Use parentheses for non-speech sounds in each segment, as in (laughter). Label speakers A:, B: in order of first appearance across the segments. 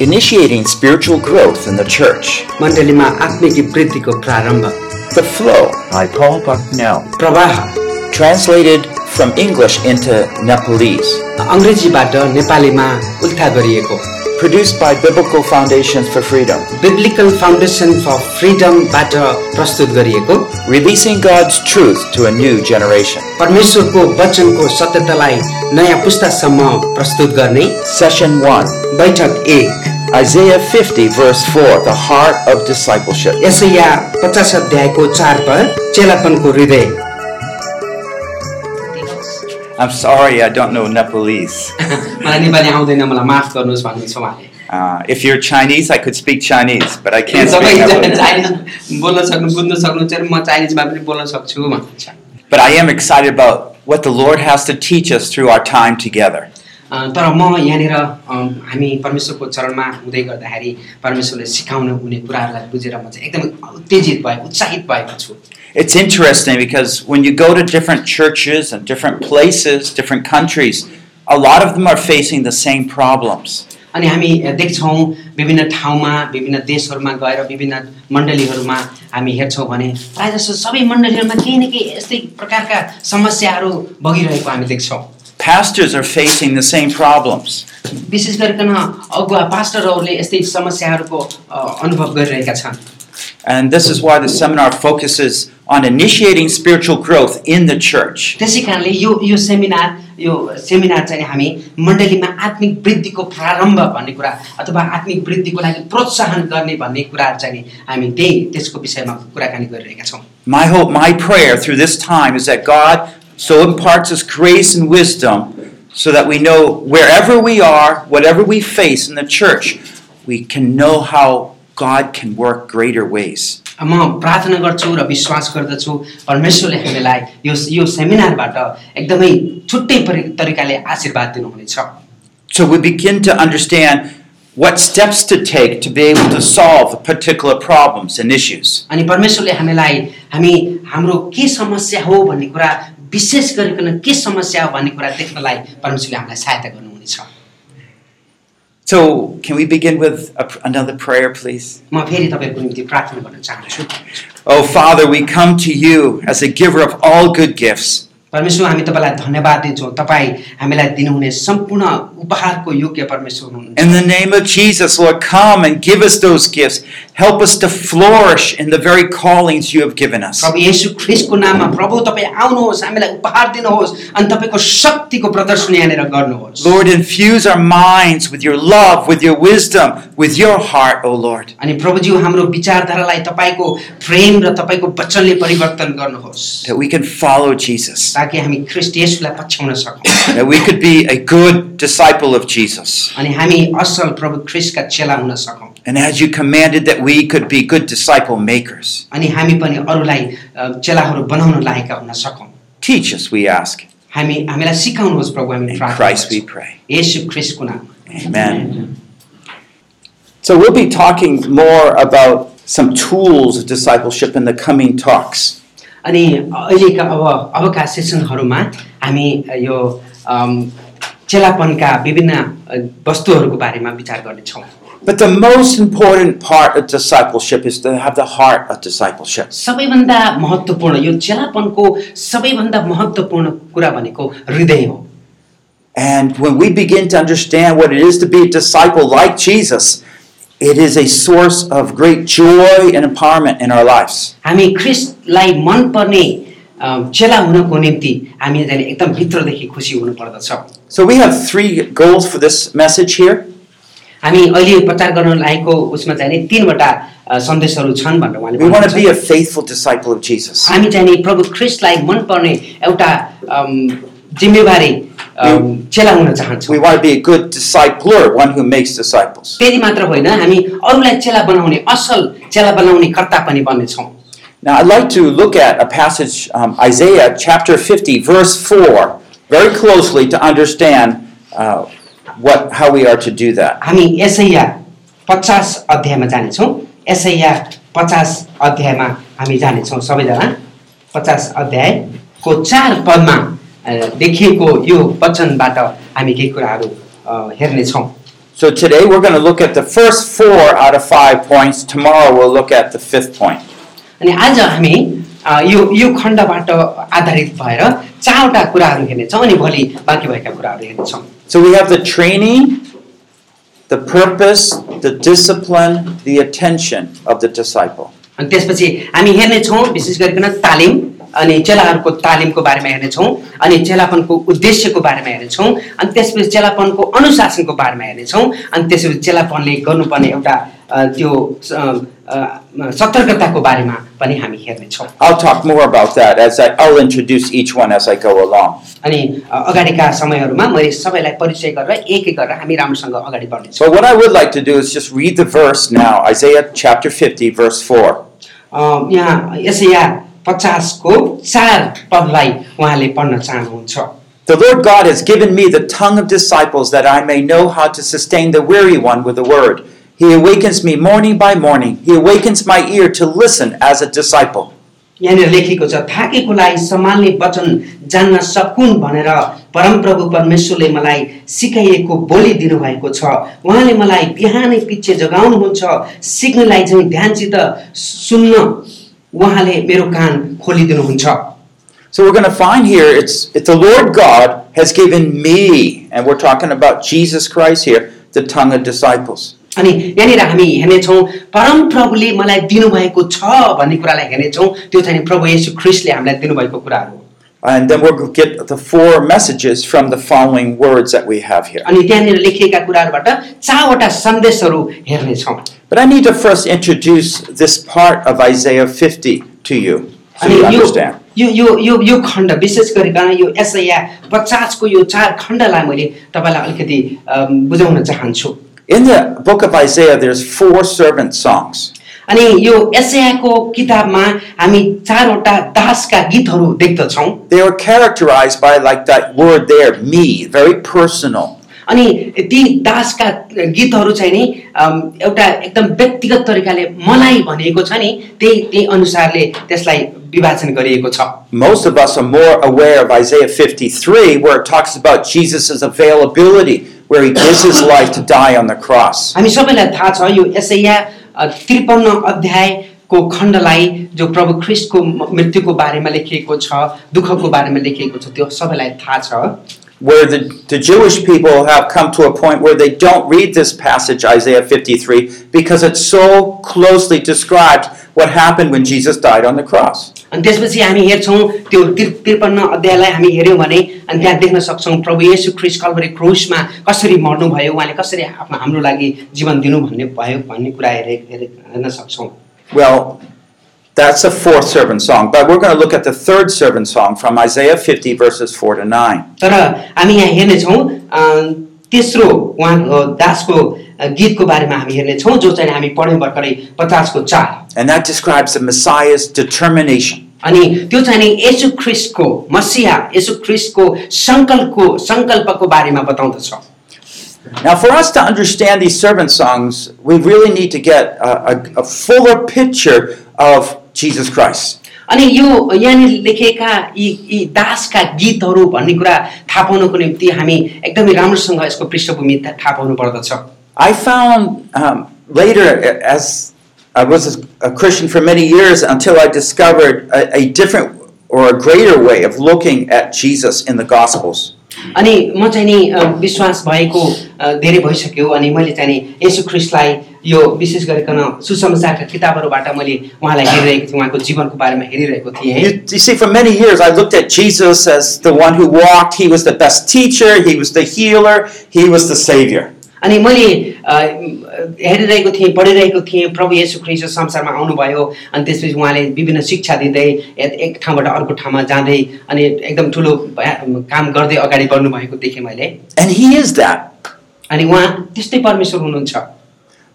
A: initiating spiritual growth in the church,
B: मण्डलीमा आत्मिक वृद्धिको प्रारम्भ
A: The Flow,
C: by Paul Bucknell.
B: प्रवाह
A: translated from English into Nepalese,
B: अङ्ग्रेजीबाट नेपालीमा उल्था गरिएको
A: produced by Biblical Foundations for Freedom,
B: Biblical foundation for फ्रिडमबाट प्रस्तुत गरिएको
A: releasing God's truth to a new generation.
B: परमेश्वरको वचनको सत्यतालाई नयाँ पुस्तासम्म प्रस्तुत गर्ने
A: Session 1
B: बैठक एक
A: Isaiah 50, verse 4, the heart of discipleship.
B: यसैया पचास अध्यायको चार पद चेलापनको हृदय
C: I'm sorry I don't know Nepalese.
B: मलाई नेपाली आउँदैन मलाई माफ गर्नुहोस् भन्नुहुन्छ उहाँले
C: Uh, if you're Chinese, I could speak Chinese, but I can't speak
B: तपाईँ
C: Nepalese.
B: चाइनिज बोल्न सक्नु बुझ्न सक्नुहुन्छ र म चाइनिजमा पनि बोल्न सक्छु भन्नुहुन्छ
C: But I am excited about what the Lord has to teach us through our time together.
B: अ, तर म यहाँनिर अ, हामी परमेश्वरको चरणमा हुँदै गर्दाखेरि परमेश्वरले सिकाउन हुने कुराहरूलाई बुझेर म चाहिँ एकदमै उत्तेजित भएको उत्साहित भएको छु
C: It's interesting because when you go to different churches and different places, different countries, a lot of them are facing the same problems.
B: अनि हामी देख्छौँ विभिन्न ठाउँमा विभिन्न देशहरूमा गएर विभिन्न मण्डलीहरूमा हामी हेर्छौँ भने प्रायः जसो सबै मण्डलीहरूमा केही न केही यस्तै प्रकारका समस्याहरू बगिरहेको हामी देख्छौँ
C: Pastors are facing the same problems.
B: विशेष गरिकन अगुवा पास्टरहरूले यस्तै समस्याहरूको अ, अनुभव गरिरहेका छन्
C: And this is why the seminar focuses on initiating spiritual growth in the church.
B: त्यसै कारणले यो यो सेमिनार यो सेमिनार चाहिँ हामी मण्डलीमा आत्मिक वृद्धिको प्रारम्भ भन्ने कुरा अथवा आत्मिक वृद्धिको लागि प्रोत्साहन गर्ने भन्ने कुरा चाहिँ नि हामी त्यही त्यसको विषयमा कुराकानी गरिरहेका छौँ
C: My hope, my prayer through this time is that God so imparts us grace and wisdom so that we know wherever we are, whatever we face in the church, we can know how God can work greater ways.
B: म प्रार्थना गर्छु र विश्वास गर्दछु परमेश्वरले हामीलाई यो यो सेमिनारबाट एकदमै छुट्टै परि- तरिकाले आशीर्वाद दिनुहुनेछ
C: So we begin to understand what steps to take to be able to solve particular problems and issues.
B: अनि परमेश्वरले हामीलाई हामी हाम्रो के समस्या हो भन्ने कुरा विशेष गरिकन के समस्या हो भन्ने कुरा देख्नलाई परमेश्वरले हामीलाई सहायता गर्नुहुनेछ
C: So, can we begin with a, another prayer, please?
B: म फेरि तपाईँको निम्ति प्रार्थना गर्न चाहन्छु
C: Oh, Father, we come to you as a giver of all good gifts.
B: परमेश्वर हामी तपाईँलाई धन्यवाद दिन्छौँ तपाईँ हामीलाई दिनुहुने सम्पूर्ण उपहारको योग्य परमेश्वर हुनुहुन्छ
C: In the name of Jesus, Lord, come and give us those gifts. Help us to flourish in the very callings you have given us.
B: प्रभु येशू ख्रिस्टको नाममा प्रभु तपाईँ आउनुहोस् हामीलाई उपहार दिनुहोस् अनि तपाईँको शक्तिको प्रदर्शन यहाँनिर गर्नुहोस्
C: Lord, infuse our minds with your love, with your wisdom, with your heart, O Lord.
B: अनि प्रभुज्यू हाम्रो विचारधारालाई तपाईँको प्रेम र तपाईँको वचनले परिवर्तन गर्नुहोस्
C: That we can follow Jesus,
B: ताकि हामी ख्रिस्ट येशूलाई पछ्याउन सकौँ
C: that we could be a good disciple of Jesus.
B: अनि हामी असल प्रभु ख्रिस्टका चेला हुन सकौँ
C: And as you commanded, that we could be good disciple makers.
B: अनि हामी पनि अरूलाई अ, चेलाहरू बनाउन लागेका हुन सकौँ
C: Teach us, we ask.
B: हामी हामीलाई सिकाउनुहोस् प्रभु हामी
C: In
B: प्रार्थना
C: Christ we
B: गर्छौँ।
C: pray.
B: येशू ख्रिस्टको नाममा
C: Amen. So we'll be talking more about some tools of discipleship in the coming talks.
B: अनि अहिलेका अब अबका सेसनहरूमा हामी यो अम, चेलापनका विभिन्न अ, वस्तुहरूको बारेमा विचार गर्नेछौँ
C: But the most important part of discipleship is to have the heart of discipleship.
B: सबैभन्दा महत्त्वपूर्ण यो चेलापनको सबैभन्दा महत्त्वपूर्ण कुरा भनेको हृदय हो
C: And when we begin to understand what it is to be a disciple like Jesus, it is a source of great joy and empowerment in our lives.
B: हामी ख्रिस्टलाई मनपर्ने अम, चेला हुनको निम्ति हामी चाहिँ एकदम भित्रदेखि खुसी हुनुपर्दछ
C: So we have three goals for this message here.
B: हामी अहिले प्रचार गर्न लागेको उसमा चाहिँ नि तिनवटा अ, सन्देशहरू छन् भनेर उहाँले
C: We want to
B: भन्नुहुन्छ।
C: be a faithful disciple of Jesus.
B: हामी चाहिँ नि प्रभु ख्रिस्टलाई मनपर्ने एउटा अम, जिम्मेवारी अम, चेला हुन
C: We
B: चाहन्छौँ
C: want to be a good discipler, one who makes disciples.
B: त्यति मात्र होइन हामी अरूलाई चेला बनाउने असल चेला बनाउने कर्ता पनि बन्नेछौँ
C: Now, I'd like to look at a passage, um, Isaiah chapter 50, verse 4, very closely to understand uh, what, how we are to do that.
B: हामी यसैया पचास अध्यायमा जानेछौँ यसैया पचास अध्यायमा हामी जानेछौँ सबैजना पचास अध्यायको चार पदमा अ, देखिएको यो वचनबाट हामी केही कुराहरू अ, हेर्नेछौँ
C: So today we're going to look at the first four out of five points. Tomorrow we'll look at the fifth point.
B: अनि आज हामी अ, यो यो खण्डबाट आधारित भएर चारवटा कुराहरू हेर्नेछौँ अनि भोलि बाँकी भएका कुराहरू हेर्नेछौँ
C: So we have the training, the purpose, the discipline, the attention of the disciple.
B: अनि त्यसपछि हामी हेर्नेछौँ विशेष गरिकन तालिम अनि चेलाहरूको तालिमको बारेमा हेर्नेछौँ अनि चेलापनको उद्देश्यको बारेमा हेर्नेछौँ अनि त्यसपछि चेलापनको अनुशासनको बारेमा हेर्नेछौँ अनि त्यसपछि चेलापनले गर्नुपर्ने एउटा अ, त्यो स- अ, अ, सतर्कताको बारेमा पनि हामी हेर्नेछौँ
C: I'll talk more about that as I, I'll introduce each one as I go along.
B: अनि अ, अगाडिका समयहरूमा मैले सबैलाई परिचय गरेर एक एक गरेर हामी राम्रोसँग अगाडि बढ्नेछौँ
C: So what I would like to do is just read the verse now, Isaiah chapter 50, verse 4.
B: अ, यहाँ यसैया पचासको चार पदलाई उहाँले पढ्न चाहनुहुन्छ
C: The Lord God has given me the tongue of disciples that I may know how to sustain the weary one with the word. He awakens me morning by morning. He awakens my ear to listen as a disciple.
B: यहाँनिर लेखिएको छ थाकेकोलाई सम्हाल्ने वचन जान्न सकुन् भनेर परमप्रभु परमेश्वरले मलाई सिकाइएको बोली दिनुभएको छ उहाँले मलाई बिहानै पिच्छे जगाउनुहुन्छ सिक्नेलाई चाहिँ ध्यानसित सुन्न उहाँले मेरो कान खोलिदिनुहुन्छ
C: So we're going to find here it's, it's the Lord God has given me, and we're talking about Jesus Christ here, the tongue of disciples.
B: अनि यहाँनिर हामी हेर्नेछौँ परमप्रभुले मलाई दिनुभएको छ भन्ने कुरालाई हेर्नेछौँ त्यो चाहिँ प्रभु येशू ख्रिस्टले हामीलाई दिनुभएको कुराहरू हो
C: And then we'll get the four messages from the following words that we have here.
B: अनि त्यहाँनिर लेखिएका कुराहरूबाट चारवटा सन्देशहरू हेर्नेछौँ
C: But I need to first introduce this part of Isaiah 50 to you so
B: अनि
C: you
B: यो
C: understand.
B: यो यो यो यो खण्ड विशेष गरिकन यो एसया पचासको यो चार खण्डलाई मैले तपाईँलाई अलिकति अम, बुझाउन चाहन्छु
C: In the book of Isaiah, there's four servant songs.
B: अनि यो एसयाको किताबमा हामी चारवटा दासका गीतहरू देख्दछौँ
C: They are characterized by like that word there, me, very personal.
B: अनि ती दासका गीतहरू चाहिँ नि अम, एउटा एकदम व्यक्तिगत तरिकाले मलाई भनिएको छ नि त्यही त्यही अनुसारले त्यसलाई विभाजन गरिएको छ
C: Most of us are more aware of Isaiah 53, where it talks about Jesus' availability, where he gives his life to die on the cross.
B: हामी सबैलाई थाहा छ यो एसैया त्रिपन्न अध्यायको खण्डलाई जो प्रभु ख्रिस्टको म- मृत्युको बारेमा लेखिएको छ दुःखको बारेमा लेखिएको छ त्यो सबैलाई थाहा छ
C: Where the, the Jewish people have come to a point where they don't read this passage, Isaiah 53, because it so closely describes what happened when Jesus died on the cross.
B: अनि त्यसपछि हामी हेर्छौँ त्यो त्रि त्रिपन्न अध्यायलाई हामी हेऱ्यौँ भने अनि त्यहाँ देख्न सक्छौँ प्रभु येशू ख्रिस्ट कलवरी क्रुसमा कसरी मर्नुभयो उहाँले कसरी आफ्नो हाम्रो लागि जीवन दिनु भन्ने भयो भन्ने कुरा हेरे हेरे हेर्न सक्छौँ
C: Well, that's the fourth servant song, but we're going to look at the third servant song from Isaiah 50, verses 4 to 9.
B: तर हामी यहाँ हेर्नेछौँ अ, तेस्रो उहाँ अ, दासको अ, गीतको बारेमा हामी हेर्नेछौँ जो चाहिँ हामी पढ्यौँ भर्खरै पचासको चार
C: And that describes the Messiah's determination.
B: अनि त्यो चाहिँ नि यसु ख्रिस्टको मसिहा यसु ख्रिस्टको सङ्कल्पको सङ्कल्पको बारेमा बताउँदछ
C: Now, for us to understand these servant songs, we really need to get a, a, a fuller picture of Jesus Christ.
B: अनि यो यहाँनिर लेखेका यी यी दासका गीतहरू भन्ने कुरा थाहा पाउनको निम्ति हामी एकदमै राम्रोसँग यसको पृष्ठभूमि था- थाहा पाउनु पर्दछ
C: I found um, later, a- as I was a Christian for many years, until I discovered a, a different or a greater way of looking at Jesus in the Gospels.
B: अनि म चाहिँ नि अ, विश्वास भएको अ, धेरै भइसक्यो अनि मैले चाहिँ नि यसु ख्रिस्टलाई यो विशेष गरिकन सुसमाचारका किताबहरूबाट मैले उहाँलाई हेरिरहेको थिएँ उहाँको जीवनको बारेमा हेरिरहेको थिएँ
C: You, you see, for many years, I looked at Jesus as the one who walked. He was the best teacher. He was the healer. He was the savior.
B: अनि मैले अ, हेरिरहेको थिएँ पढिरहेको थिएँ प्रभु येशु ख्रिस्ट यो संसारमा आउनुभयो अनि त्यसपछि उहाँले विभिन्न शिक्षा दिँदै एक एक ठाउँबाट अर्को ठाउँमा जाँदै अनि एकदम ठुलो भया- काम गर्दै अगाडि बढ्नु भएको देखेँ मैले
C: And he is that.
B: अनि उहाँ त्यस्तै परमेश्वर हुनुहुन्छ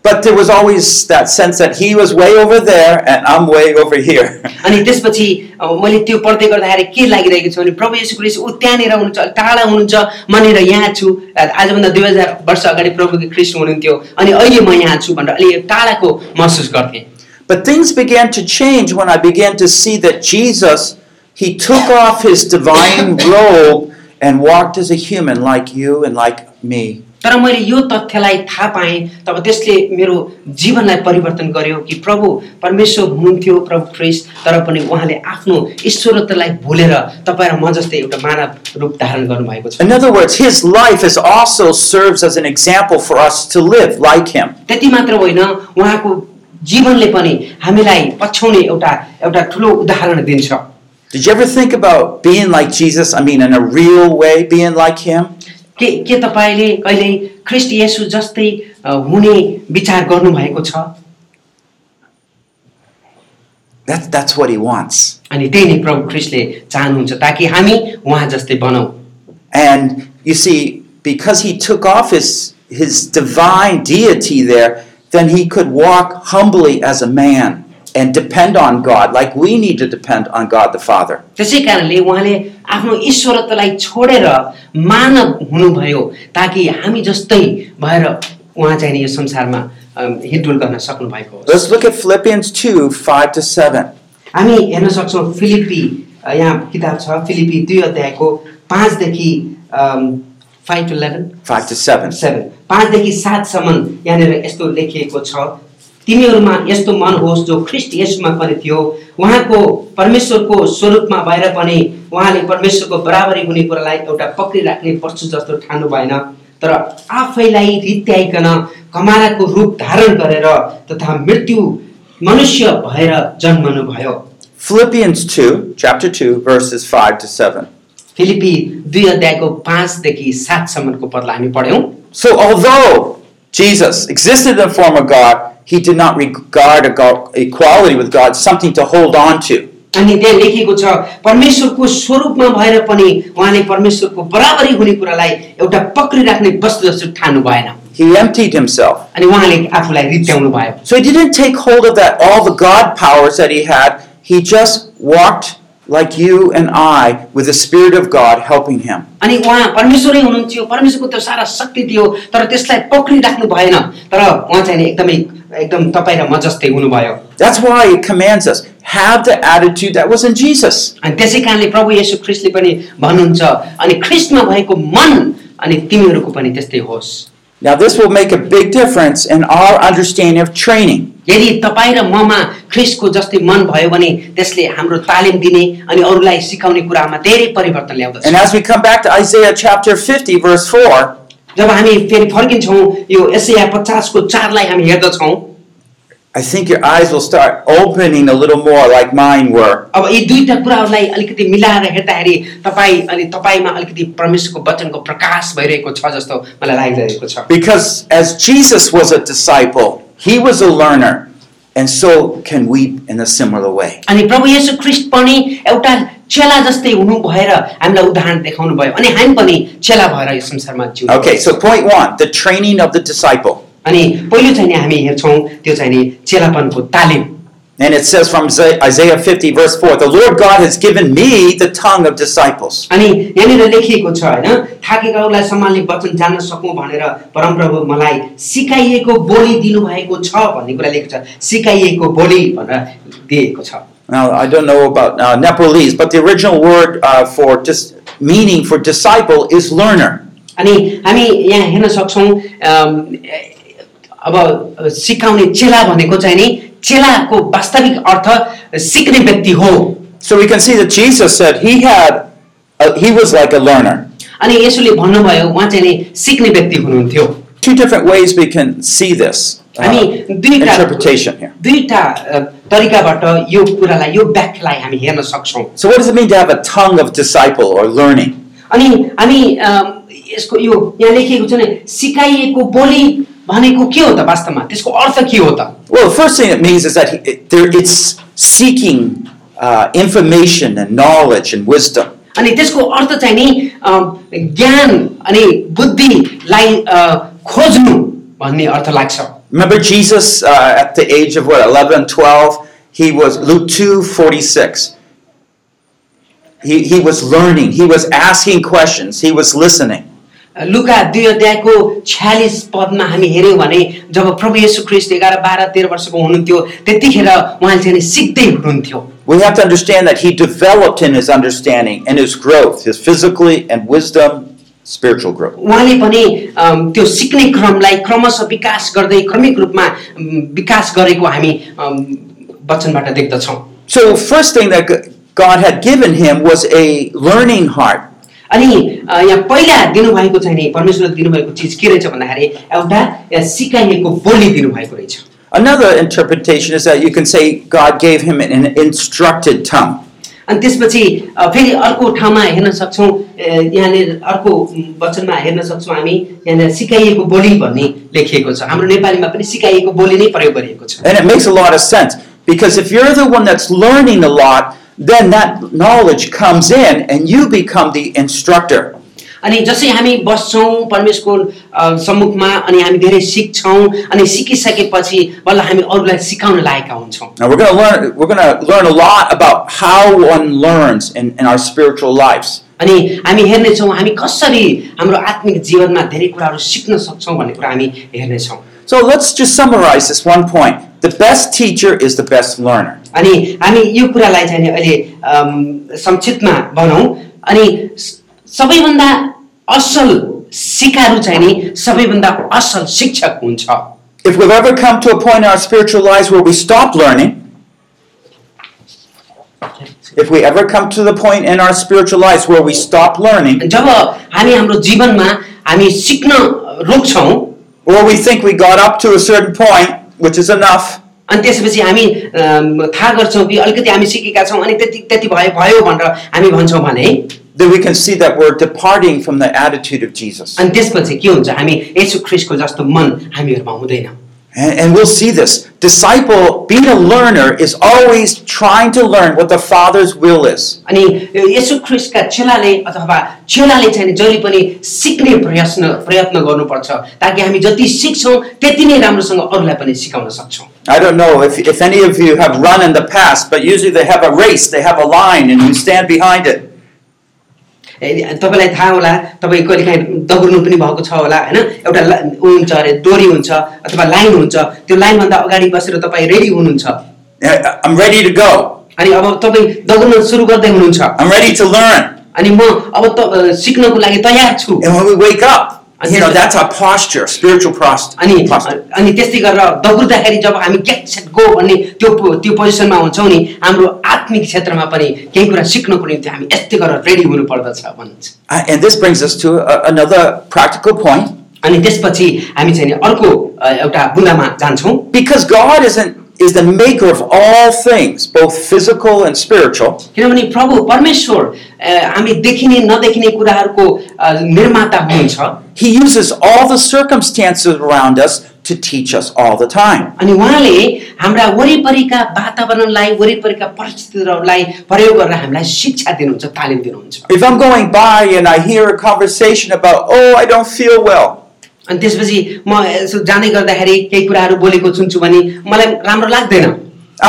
C: But there was always that sense that he was way over there and I'm way over here. (laughs)
B: अनि त्यसपछि अ, मैले त्यो पढ्दै गर्दाखेरि के लागिरहेको छ भने प्रभु यीशु ख्रिस्ट ऊ त्यहाँनिर हुनुहुन्छ अलिक टाढा हुनुहुन्छ म यहाँनिर यहाँ छु आजभन्दा दुई हजार वर्ष अगाडि प्रभु ख्रिस्ट हुनुहुन्थ्यो अनि अहिले म यहाँ छु भनेर अलिक टाढाको महसुस गर्थेँ
C: But things began to change when I began to see that Jesus, he took off his divine robe and walked as a human like you and like me.
B: तर मैले यो तथ्यलाई थाहा पाएँ तब त्यसले मेरो जीवनलाई परिवर्तन गर्यो कि प्रभु परमेश्वर हुनुहुन्थ्यो प्रभु क्रिस तर पनि उहाँले आफ्नो ईश्वरत्वलाई भुलेर तपाईँ र म जस्तै एउटा मानव रूप धारण गर्नुभएको छ
C: In other words, his life is also serves as an example for us to live like him.
B: त्यति मात्र होइन उहाँको जीवनले पनि हामीलाई पछ्याउने एउटा एउटा ठुलो उदाहरण दिन्छ
C: Did you ever think about being like Jesus? I mean, in a real way, being like him?
B: के के तपाईँले कहिल्यै ख्रिस्ट येसु जस्तै अ, हुने विचार गर्नुभएको छ
C: That, that's what he wants.
B: अनि त्यही नै प्रभु ख्रिस्टले चाहनुहुन्छ ताकि हामी उहाँ जस्तै बनाऊ
C: And you see, because he took off his, his divine deity there, then he could walk humbly as a man and depend on God, like we need to depend on God the Father.
B: त्यसै कारणले उहाँले आफ्नो ईश्वरत्वलाई छोडेर मानव हुनुभयो ताकि हामी जस्तै भएर उहाँ चाहिँ नि यो संसारमा अ, हिँडडुल गर्न सक्नुभएको हो
C: Let's look at Philippians 2 5 to 7.
B: हामी हेर्न सक्छौँ फिलिपी अ, यहाँ किताब छ फिलिपी दुई अध्यायको पाँचदेखि five to eleven
C: 5 to 7.
B: Seven पाँचदेखि सातसम्म यहाँनिर यस्तो लेखिएको छ तिमीहरूमा यस्तो मन होस् जो ख्रिस्ट यसमा पनि थियो उहाँको परमेश्वरको स्वरूपमा भएर पनि उहाँले परमेश्वरको बराबरी हुने कुरालाई एउटा पक्रिराख्ने पर्छु जस्तो ठानु भएन तर आफैलाई रित्याइकन कमालाको रूप धारण गरेर तथा मृत्यु मनुष्य भएर जन्मनु भयो
C: Philippians 2, chapter 2, verses 5 to 7.
B: Philippi दुई अध्यायको पाँचदेखि सातसम्मको पदलाई हामी पढ्यौँ
C: So, although Jesus existed in the form of God, he did not regard ego- equality with God something to hold on to.
B: अनि त्यहाँ लेखिएको छ परमेश्वरको स्वरूपमा भएर पनि उहाँले परमेश्वरको बराबरी हुने कुरालाई एउटा पक्रिराख्ने वस्तु जस्तो ठानु भएन
C: He emptied himself.
B: अनि उहाँले आफूलाई रित्याउनु भयो
C: So, he didn't take hold of that all the God powers that he had. He just walked like you and I with the Spirit of God helping him.
B: अनि उहाँ परमेश्वरै हुनुहुन्थ्यो परमेश्वरको त्यो सारा शक्ति थियो तर त्यसलाई पक्रिराख्नु भएन तर उहाँ चाहिँ नि एकदमै एकदम तपाईँ र म जस्तै हुनुभयो
C: That's why he commands us have the attitude that was in Jesus.
B: अनि त्यसै कारणले प्रभु येशू ख्रिस्टले पनि भन्नुहुन्छ अनि ख्रिस्टमा भएको मन अनि तिमीहरूको पनि त्यस्तै होस्
C: Now, this will make a big difference in our understanding of training.
B: यदि तपाईँ र ममा ख्रिस्टको जस्तै मन भयो भने त्यसले हाम्रो तालिम दिने अनि अरूलाई सिकाउने कुरामा धेरै परिवर्तन ल्याउँदछ
C: And as we come back to Isaiah chapter 50, verse 4,
B: जब हामी फेरि फर्किन्छौँ यो एसिया पचासको चारलाई हामी हेर्दछौँ
C: I think your eyes will start opening a little more like mine were.
B: अब यी दुईटा कुराहरूलाई अलिकति मिलाएर हेर्दाखेरि तपाईँ अनि तपाईँमा अलिकति परमेश्वरको वचनको प्रकाश भइरहेको छ जस्तो मलाई लागिरहेको छ
C: Because as Jesus was a disciple, he was a learner, and so can we in a similar way.
B: अनि प्रभु येशू ख्रिस्ट पनि एउटा चेला जस्तै हुनु भएर हामीलाई उदाहरण देखाउनु भयो अनि हामी पनि चेला भएर यो संसारमा जिउ
C: Okay, so point one the training of the disciple.
B: अनि पहिलो चाहिँ नि हामी हेर्छौँ त्यो चाहिँ नि चेलापनको तालिम
C: And it says from Isaiah 50, verse 4 The Lord God has given me the tongue of disciples.
B: अनि यहाँनिर लेखिएको छ होइन थाकेकाहरूलाई सम्हाल्ने वचन जान्न सकौँ भनेर परमप्रभु मलाई सिकाइएको बोली दिनुभएको छ भन्ने कुरा लेखेको छ सिकाइएको बोली भनेर दिएको छ
C: Now, I don't know about uh, Nepalese, but the original word uh, for dis- meaning for disciple is learner.
B: अनि हामी यहाँ हेर्न सक्छौँ अम, ए- अब सिकाउने चेला भनेको चाहिँ नि चेलाको वास्तविक अर्थ सिक्ने व्यक्ति हो
C: So we can see that Jesus said he had, uh, he was like a learner.
B: अनि यसोले भन्नुभयो उहाँ चाहिँ नि सिक्ने व्यक्ति हुनुहुन्थ्यो
C: Two different ways we can see this uh,
B: हामी दुई कुरा
C: interpretation here.
B: दुईटा अ, तरिकाबाट यो कुरालाई यो व्याख्यालाई हामी हेर्न सक्छौँ
C: So what does it mean to have a tongue of disciple or learning?
B: अनि हामी अम, यसको यो यहाँ लेखिएको छ नि सिकाइएको बोली भनेको के हो त वास्तवमा त्यसको अर्थ के हो त
C: Well, the first thing it means is that he, it, there, it's seeking uh, information and knowledge and wisdom.
B: अनि त्यसको अर्थ चाहिँ नि अम, ज्ञान अनि बुद्धिलाई अ, खोज्नु भन्ने अर्थ लाग्छ
C: Remember Jesus uh, at the age of what 11, 12, he was Luke 2, 46. He, he was learning, he was asking questions, he was listening.
B: लुका दुई अध्यायको छ्यालिस पदमा हामी हेऱ्यौँ भने जब प्रभु येशू ख्रिस्ट एघार बाह्र तेह्र वर्षको हुनुहुन्थ्यो त्यतिखेर उहाँले चाहिँ नि सिक्दै हुनुहुन्थ्यो
C: We have to understand that he developed in his understanding and his growth, his physically and wisdom,
A: spiritual growth.
B: उहाँले पनि अम, त्यो सिक्ने क्रमलाई क्रमशः विकास गर्दै क्रमिक रूपमा अम, विकास गरेको हामी अम, वचनबाट देख्दछौँ
C: So, first thing that G- God had given him was a learning heart.
B: अनि अ, यहाँ पहिला दिनुभएको चाहिँ नि परमेश्वरले दिनुभएको चिज के रहेछ भन्दाखेरि एउटा यहाँ सिकाइएको बोली दिनुभएको रहेछ
C: Another interpretation is that you can say God gave him an instructed tongue.
B: अनि त्यसपछि अ, फेरि अर्को ठाउँमा हेर्न सक्छौँ अ, यहाँनिर अर्को उम्, वचनमा हेर्न सक्छौँ हामी यहाँनिर सिकाइएको बोली भन्ने लेखिएको छ हाम्रो नेपालीमा पनि सिकाइएको बोली नै प्रयोग गरिएको छ
C: And it makes a lot of sense because if you're the one that's learning a lot, then that knowledge comes in and you become the instructor.
B: अनि जसै हामी बस्छौँ परमेश्वरको अ, सम्मुखमा अनि हामी धेरै सिक्छौँ अनि सिकिसकेपछि बल्ल हामी अरूलाई सिकाउन लायकका हुन्छौँ
C: Now we're going to learn we're going to learn a lot about how one learns in, in our spiritual lives.
B: अनि हामी हेर्नेछौँ हामी कसरी हाम्रो आत्मिक जीवनमा धेरै कुराहरू सिक्न सक्छौँ भन्ने कुरा हामी हेर्नेछौँ
C: So let's just summarize this one point. The best teacher is the best learner.
B: अनि हामी यो कुरालाई चाहिँ नि अहिले अम, संक्षिप्तमा भनौँ अनि स- सबैभन्दा असल सिकारु चाहिँ नि सबैभन्दा असल शिक्षक हुन्छ
C: If we've ever come to a point in our spiritual lives where we stop learning, if we ever come to the point in our spiritual lives where we stop learning,
B: जब हामी हाम्रो जीवनमा हामी सिक्न रोक्छौँ
C: or we think we got up to a certain point, which is enough,
B: अनि त्यसपछि हामी अम, थाहा गर्छौँ कि अलिकति हामी सिकेका छौँ अनि त्यति त्यति भयो भयो भनेर हामी भन्छौँ भने
C: then we can see that we're departing from the attitude of Jesus. And,
B: अनि त्यसपछि के हुन्छ हामी यसु ख्रिस्टको जस्तो मन हामीहरूमा हुँदैन
C: and we'll see this. Disciple, being a learner, is always trying to learn what the Father's will is.
B: अनि यसु ख्रिस्टका चेलाले अथवा चेलाले चाहिँ नि जहिले पनि सिक्ने प्रयत्न प्रयत्न गर्नुपर्छ ताकि हामी जति सिक्छौँ त्यति नै राम्रोसँग अरूलाई पनि सिकाउन सक्छौँ
C: I don't know if, if any of you have run in the past, but usually they have a race, they have a line, and you stand behind it.
B: ए, तपाईँलाई थाहा होला तपाईँ कहिले काहीँ दगुर्नु पनि भएको छ होला होइन एउटा ला- ऊ हुन्छ अरे डोरी हुन्छ अथवा लाइन हुन्छ त्यो लाइनभन्दा अगाडि बसेर तपाईँ रेडी हुनुहुन्छ
C: Uh, I'm ready to go,
B: अनि अब तपाईँ दगुर्न सुरु गर्दै हुनुहुन्छ
C: I'm ready to learn.
B: अनि म अब त सिक्नको लागि तयार छु
C: And when we wake up,
B: And
C: you
B: this
C: know,
B: is-
C: that's our posture, spiritual pros-
B: अनि
C: posture.
B: अनि त्यस्तै गरेर दगुर्दाखेरि जब हामी गेट सेट गो भन्ने त्यो पो- त्यो पोजिसनमा हुन्छौँ नि हाम्रो आत्मिक क्षेत्रमा पनि केही कुरा सिक्नको निम्ति हामी यस्तै गरेर रेडी हुनुपर्दछ भनिन्छ
C: Uh, and this brings us to a, another practical point.
B: अनि त्यसपछि हामी चाहिँ नि अर्को अ, एउटा बुँदामा जान्छौँ
C: Because God isn't is the maker of all things, both physical and spiritual.
B: किनभने प्रभु परमेश्वर अ, हामी देखिने नदेखिने कुराहरूको अ, निर्माता हुनुहुन्छ
C: He uses all the circumstances around us to teach us all the time.
B: अनि उहाँले हाम्रा वरिपरिका वातावरणलाई वरिपरिका परिस्थितिहरूलाई प्रयोग गरेर हामीलाई शिक्षा दिनुहुन्छ तालिम दिनुहुन्छ
C: If I'm going by and I hear a conversation about, oh, I don't feel well,
B: अनि त्यसपछि म यसो जाँदै गर्दाखेरि केही कुराहरू बोलेको सुन्छु भने मलाई राम्रो लाग्दैन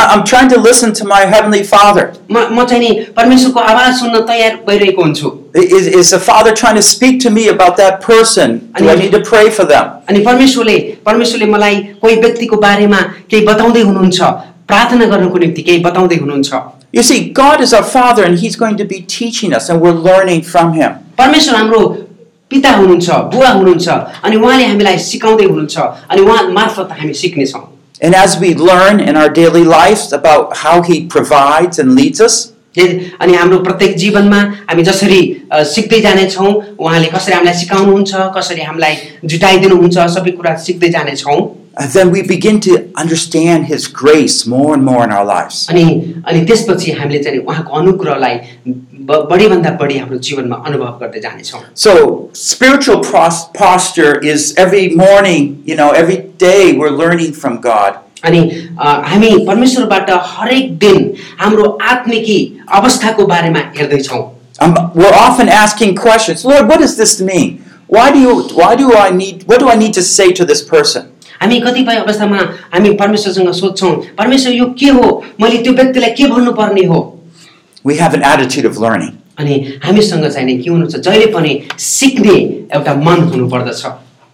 C: I- I'm trying to listen to my Heavenly Father.
B: म म चाहिँ नि परमेश्वरको आवाज सुन्न तयार भइरहेको हुन्छु
C: I- Is, is the Father trying to speak to me about that person? Do I need to pray for them?
B: अनि परमेश्वरले परमेश्वरले मलाई कोही व्यक्तिको बारेमा केही बताउँदै हुनुहुन्छ प्रार्थना गर्नुको निम्ति केही बताउँदै हुनुहुन्छ
C: You see, God is our Father and He's going to be teaching us and we're learning from Him.
B: परमेश्वर हाम्रो पिता हुनुहुन्छ बुवा हुनुहुन्छ अनि उहाँले हामीलाई सिकाउँदै हुनुहुन्छ अनि उहाँ मार्फत हामी सिक्नेछौँ
C: And as we learn in our daily lives about how He provides and leads us,
B: जे- अनि हाम्रो प्रत्येक जीवनमा हामी जसरी अ, सिक्दै जानेछौँ उहाँले कसरी हामीलाई सिकाउनुहुन्छ कसरी हामीलाई जुटाइदिनुहुन्छ सबै कुरा सिक्दै जानेछौँ
C: uh, then we begin to understand His grace more and more in our lives.
B: अनि अनि त्यसपछि हामीले चाहिँ उहाँको अनुग्रहलाई ब- बढीभन्दा बढी हाम्रो जीवनमा अनुभव गर्दै जानेछौँ
C: So, spiritual pros- posture is every morning, you know, every day we're learning from God.
B: अनि अ, हामी परमेश्वरबाट हरेक दिन हाम्रो आत्मिकी अवस्थाको बारेमा हेर्दैछौँ
C: Um, we're often asking questions Lord, what does this mean? Why do, you, why do I need, what do I need to say to this person?
B: हामी कतिपय अवस्थामा हामी परमेश्वरसँग सोध्छौँ परमेश्वर यो के हो मैले त्यो व्यक्तिलाई के भन्नुपर्ने हो
C: We have an attitude of learning.
B: अनि हामीसँग चाहिँ नि के हुनुपर्छ जहिले पनि सिक्ने एउटा मन हुनुपर्दछ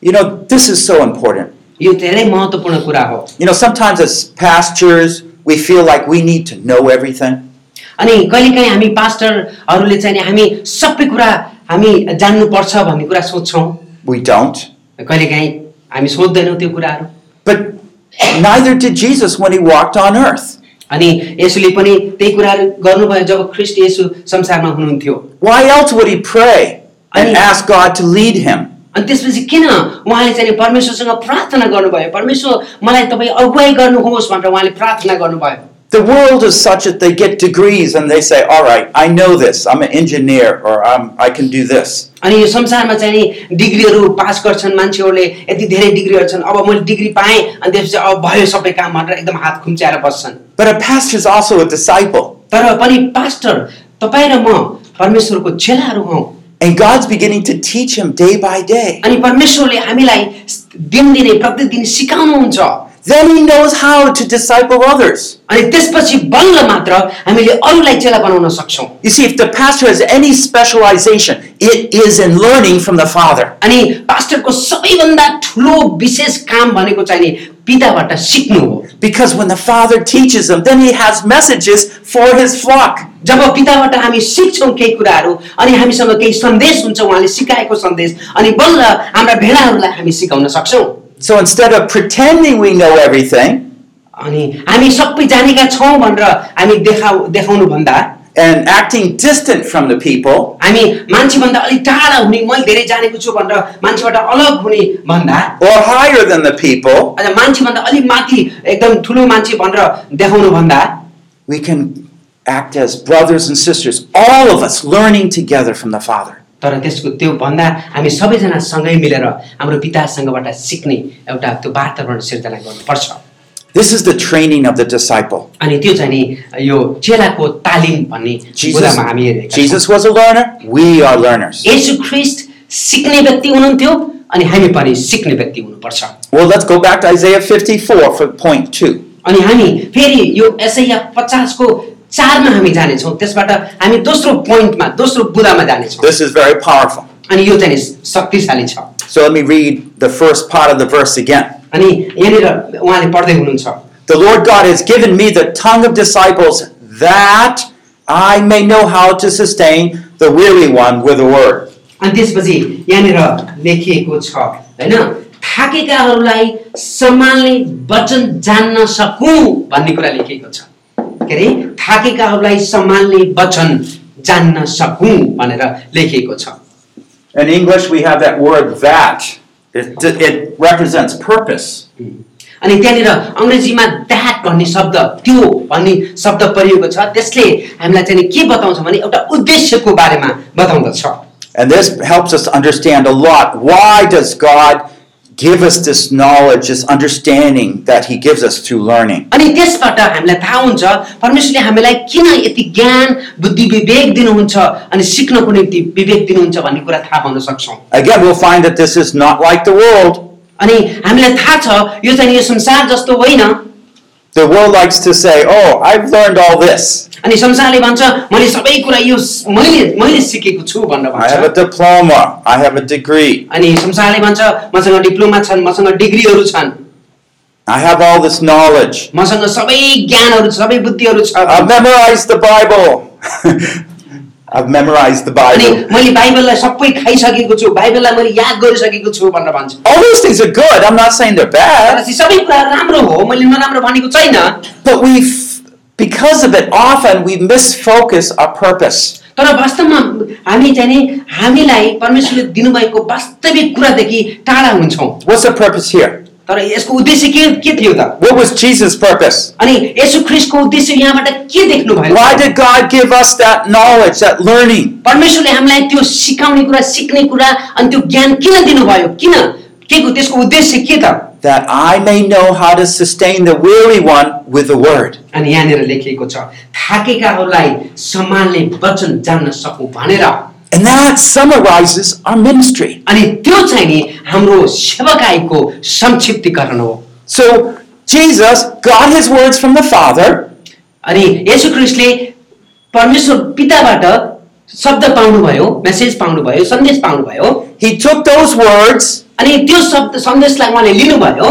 C: You know, this is so important.
B: यो धेरै महत्त्वपूर्ण कुरा हो
C: You know, sometimes as pastors, we feel like we need to know everything.
B: अनि कहिलेकाहीँ हामी पास्टरहरूले चाहिँ नि हामी सबै कुरा हामी जान्नुपर्छ भन्ने कुरा सोध्छौँ
C: We don't.
B: कहिलेकाहीँ हामी सोध्दैनौँ त्यो कुराहरू
C: But neither did Jesus when he walked on earth.
B: अनि यसुले पनि त्यही कुराहरू गर्नुभयो जब ख्रिस्ट यसु संसारमा हुनुहुन्थ्यो
C: Why else would he pray
B: I-
C: and ask God to lead him?
B: अनि त्यसपछि किन उहाँले चाहिँ परमेश्वरसँग प्रार्थना गर्नुभयो परमेश्वर मलाई तपाईँ अगुवाई गर्नुहोस् भनेर उहाँले प्रार्थना गर्नुभयो
C: The world is such that they get degrees and they say, "All right, I know this. I'm an engineer, or I'm, I can do this."
B: अनि यो संसारमा चाहिँ नि डिग्रीहरू पास गर्छन् मान्छेहरूले यति धेरै डिग्रीहरू छन् अब मैले डिग्री पाएँ अनि त्यसपछि अब भयो सबै काम भनेर एकदम हात खुम्च्याएर बस्छन्
C: But a pastor is also a disciple,
B: तर पनि पास्टर तपाईँ र म परमेश्वरको चेलाहरू हौ
C: and God's beginning to teach him day by day.
B: अनि परमेश्वरले हामीलाई दिनदिनै प्रत्येक दिन सिकाउनुहुन्छ
C: Then he knows how to disciple others.
B: अनि त्यसपछि बल्ल मात्र हामीले अरूलाई चेला बनाउन सक्छौँ
C: You see, if the pastor has any specialization, it is in learning from the Father.
B: अनि पास्टरको सबैभन्दा ठुलो विशेष काम भनेको चाहिँ नि पिताबाट सिक्नु हो
C: Because when the Father teaches him, then he has messages for his flock.
B: जब पिताबाट हामी सिक्छौँ केही कुराहरू अनि हामीसँग केही सन्देश हुन्छ उहाँले सिकाएको सन्देश अनि बल्ल हाम्रा भेडाहरूलाई हामी सिकाउन सक्छौँ
C: So instead of pretending we know everything
B: अनि हामी सबै जानेका छौँ भनेर हामी देखाउ देखाउनु भन्दा
C: and acting distant from the people
B: हामी मान्छेभन्दा अलिक टाढा हुने मैले धेरै जानेको छु भनेर मान्छेबाट अलग हुने भन्दा
C: or higher than the people,
B: अनि मान्छेभन्दा अलिक माथि एकदम ठुलो मान्छे भनेर देखाउनु भन्दा
C: we can act as brothers and sisters, all of us learning together from the Father.
B: तर त्यसको त्यो भन्दा हामी सबैजना सँगै मिलेर हाम्रो पितासँगबाट सिक्ने एउटा त्यो वातावरण सिर्जना गर्नुपर्छ
C: This is the training of the disciple.
B: अनि त्यो चाहिँ नि यो चेलाको तालिम भन्ने
C: Jesus,
B: कुरामा हामी हेरेका छौँ।
C: Jesus was a learner, we are learners.
B: येशू ख्रिस्ट सिक्ने व्यक्ति हुनुहुन्थ्यो अनि हामी पनि सिक्ने व्यक्ति हुनुपर्छ
C: Well, let's go back to Isaiah 54 for point two.
B: अनि हामी फेरि यो एसैया पचासको चारमा हामी जानेछौँ त्यसबाट हामी दोस्रो पोइन्टमा दोस्रो बुदामा जानेछौँ
C: This is very powerful.
B: अनि यो चाहिँ नि शक्तिशाली छ
C: So let me read the first part of the verse again.
B: अनि यहाँनिर उहाँले पढ्दै हुनुहुन्छ
C: The Lord God has given me the tongue of disciples that I may know how to sustain the weary one with a word.
B: अनि त्यसपछि यहाँनिर लेखिएको छ होइन थाकेकाहरूलाई सम्हाल्ने वचन जान्न सकौँ भन्ने कुरा लेखिएको छ के अरे थाकेकाहरूलाई सम्हाल्ने वचन जान्न सकौँ भनेर लेखिएको छ
C: In English, we have that word that. It, it represents purpose.
B: अनि त्यहाँनिर अङ्ग्रेजीमा द्याट भन्ने शब्द त्यो भन्ने शब्द परिएको छ त्यसले हामीलाई चाहिँ नि के बताउँछ भने एउटा उद्देश्यको बारेमा बताउँदछ
C: And this helps us understand a lot. Why does God give us this knowledge, this understanding that He gives us through learning?
B: अनि त्यसबाट हामीलाई थाहा हुन्छ परमेश्वरले हामीलाई किन यति ज्ञान बुद्धि विवेक दिनुहुन्छ अनि सिक्नको निम्ति विवेक दिनुहुन्छ भन्ने कुरा थाहा पाउन सक्छौँ
C: Again, we'll find that this is not like the world.
B: अनि हामीलाई थाहा छ यो चाहिँ यो संसार जस्तो होइन
C: The world likes to say, Oh, I've learned all this.
B: अनि संसारले भन्छ मैले सबै कुरा यो स- मैले मैले सिकेको छु भनेर
C: I have a
B: भन्छ
C: diploma. I have a degree.
B: अनि संसारले भन्छ मसँग डिप्लोमा छन् मसँग डिग्रीहरू छन्
C: I have all this knowledge.
B: मसँग सबै ज्ञानहरू सबै बुद्धिहरू छ
C: I've memorized the Bible. (laughs) I've memorized the
B: अनि
C: Bible.
B: मैले बाइबललाई सबै खाइसकेको छु बाइबललाई मैले याद गरिसकेको छु भनेर भन्छ
C: All those things are good. I'm not saying they're
B: तर
C: bad.
B: ती सबै कुरा राम्रो हो मैले नराम्रो भनेको छैन
C: But we, because of it, often we misfocus our purpose.
B: तर वास्तवमा हामी चाहिँ नि हामीलाई परमेश्वरले दिनुभएको वास्तविक कुरादेखि टाढा हुन्छौँ
C: What's the purpose here?
B: तर यसको उद्देश्य के के थियो त
C: What was Jesus' purpose?
B: अनि यसु ख्रिस्टको उद्देश्य यहाँबाट के देख्नु भयो
C: Why did God give us that knowledge, that learning?
B: परमेश्वरले हामीलाई त्यो सिकाउने कुरा सिक्ने कुरा अनि त्यो ज्ञान किन दिनुभयो किन के को त्यसको उद्देश्य के त
C: That I may know how to sustain the weary one with the word.
B: अनि यहाँनिर लेखिएको छ थाकेकाहरूलाई सम्हाल्ने वचन जान्न सकौँ भनेर
C: And that summarizes our ministry.
B: अनि त्यो चाहिँ नि हाम्रो सेवकाईको संक्षिप्तीकरण हो
C: So Jesus got his words from the Father,
B: अनि यसु ख्रिस्टले परमेश्वर पिताबाट शब्द पाउनुभयो मेसेज पाउनुभयो सन्देश पाउनुभयो
C: he took those words,
B: अनि त्यो शब्द सन्देशलाई उहाँले लिनुभयो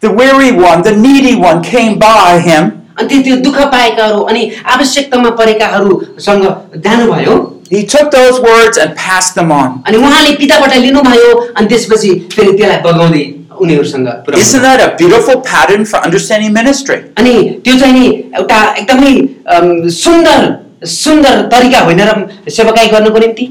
C: the weary one, the needy one came by him,
B: अनि त्यो त्यो दुःख पाएकाहरू अनि आवश्यकतामा परेकाहरूसँग जानुभयो
C: he took those words and passed them on.
B: अनि उहाँले पिताबाट लिनुभयो अनि त्यसपछि फेरि त्यसलाई बगाउँदै उनीहरूसँग पुऱ्याउनु
C: Isn't that a beautiful pattern for understanding ministry?
B: अनि त्यो चाहिँ नि एउटा एकदमै अम, सुन्दर सुन्दर तरिका होइन र सेवाकाई गर्नुको निम्ति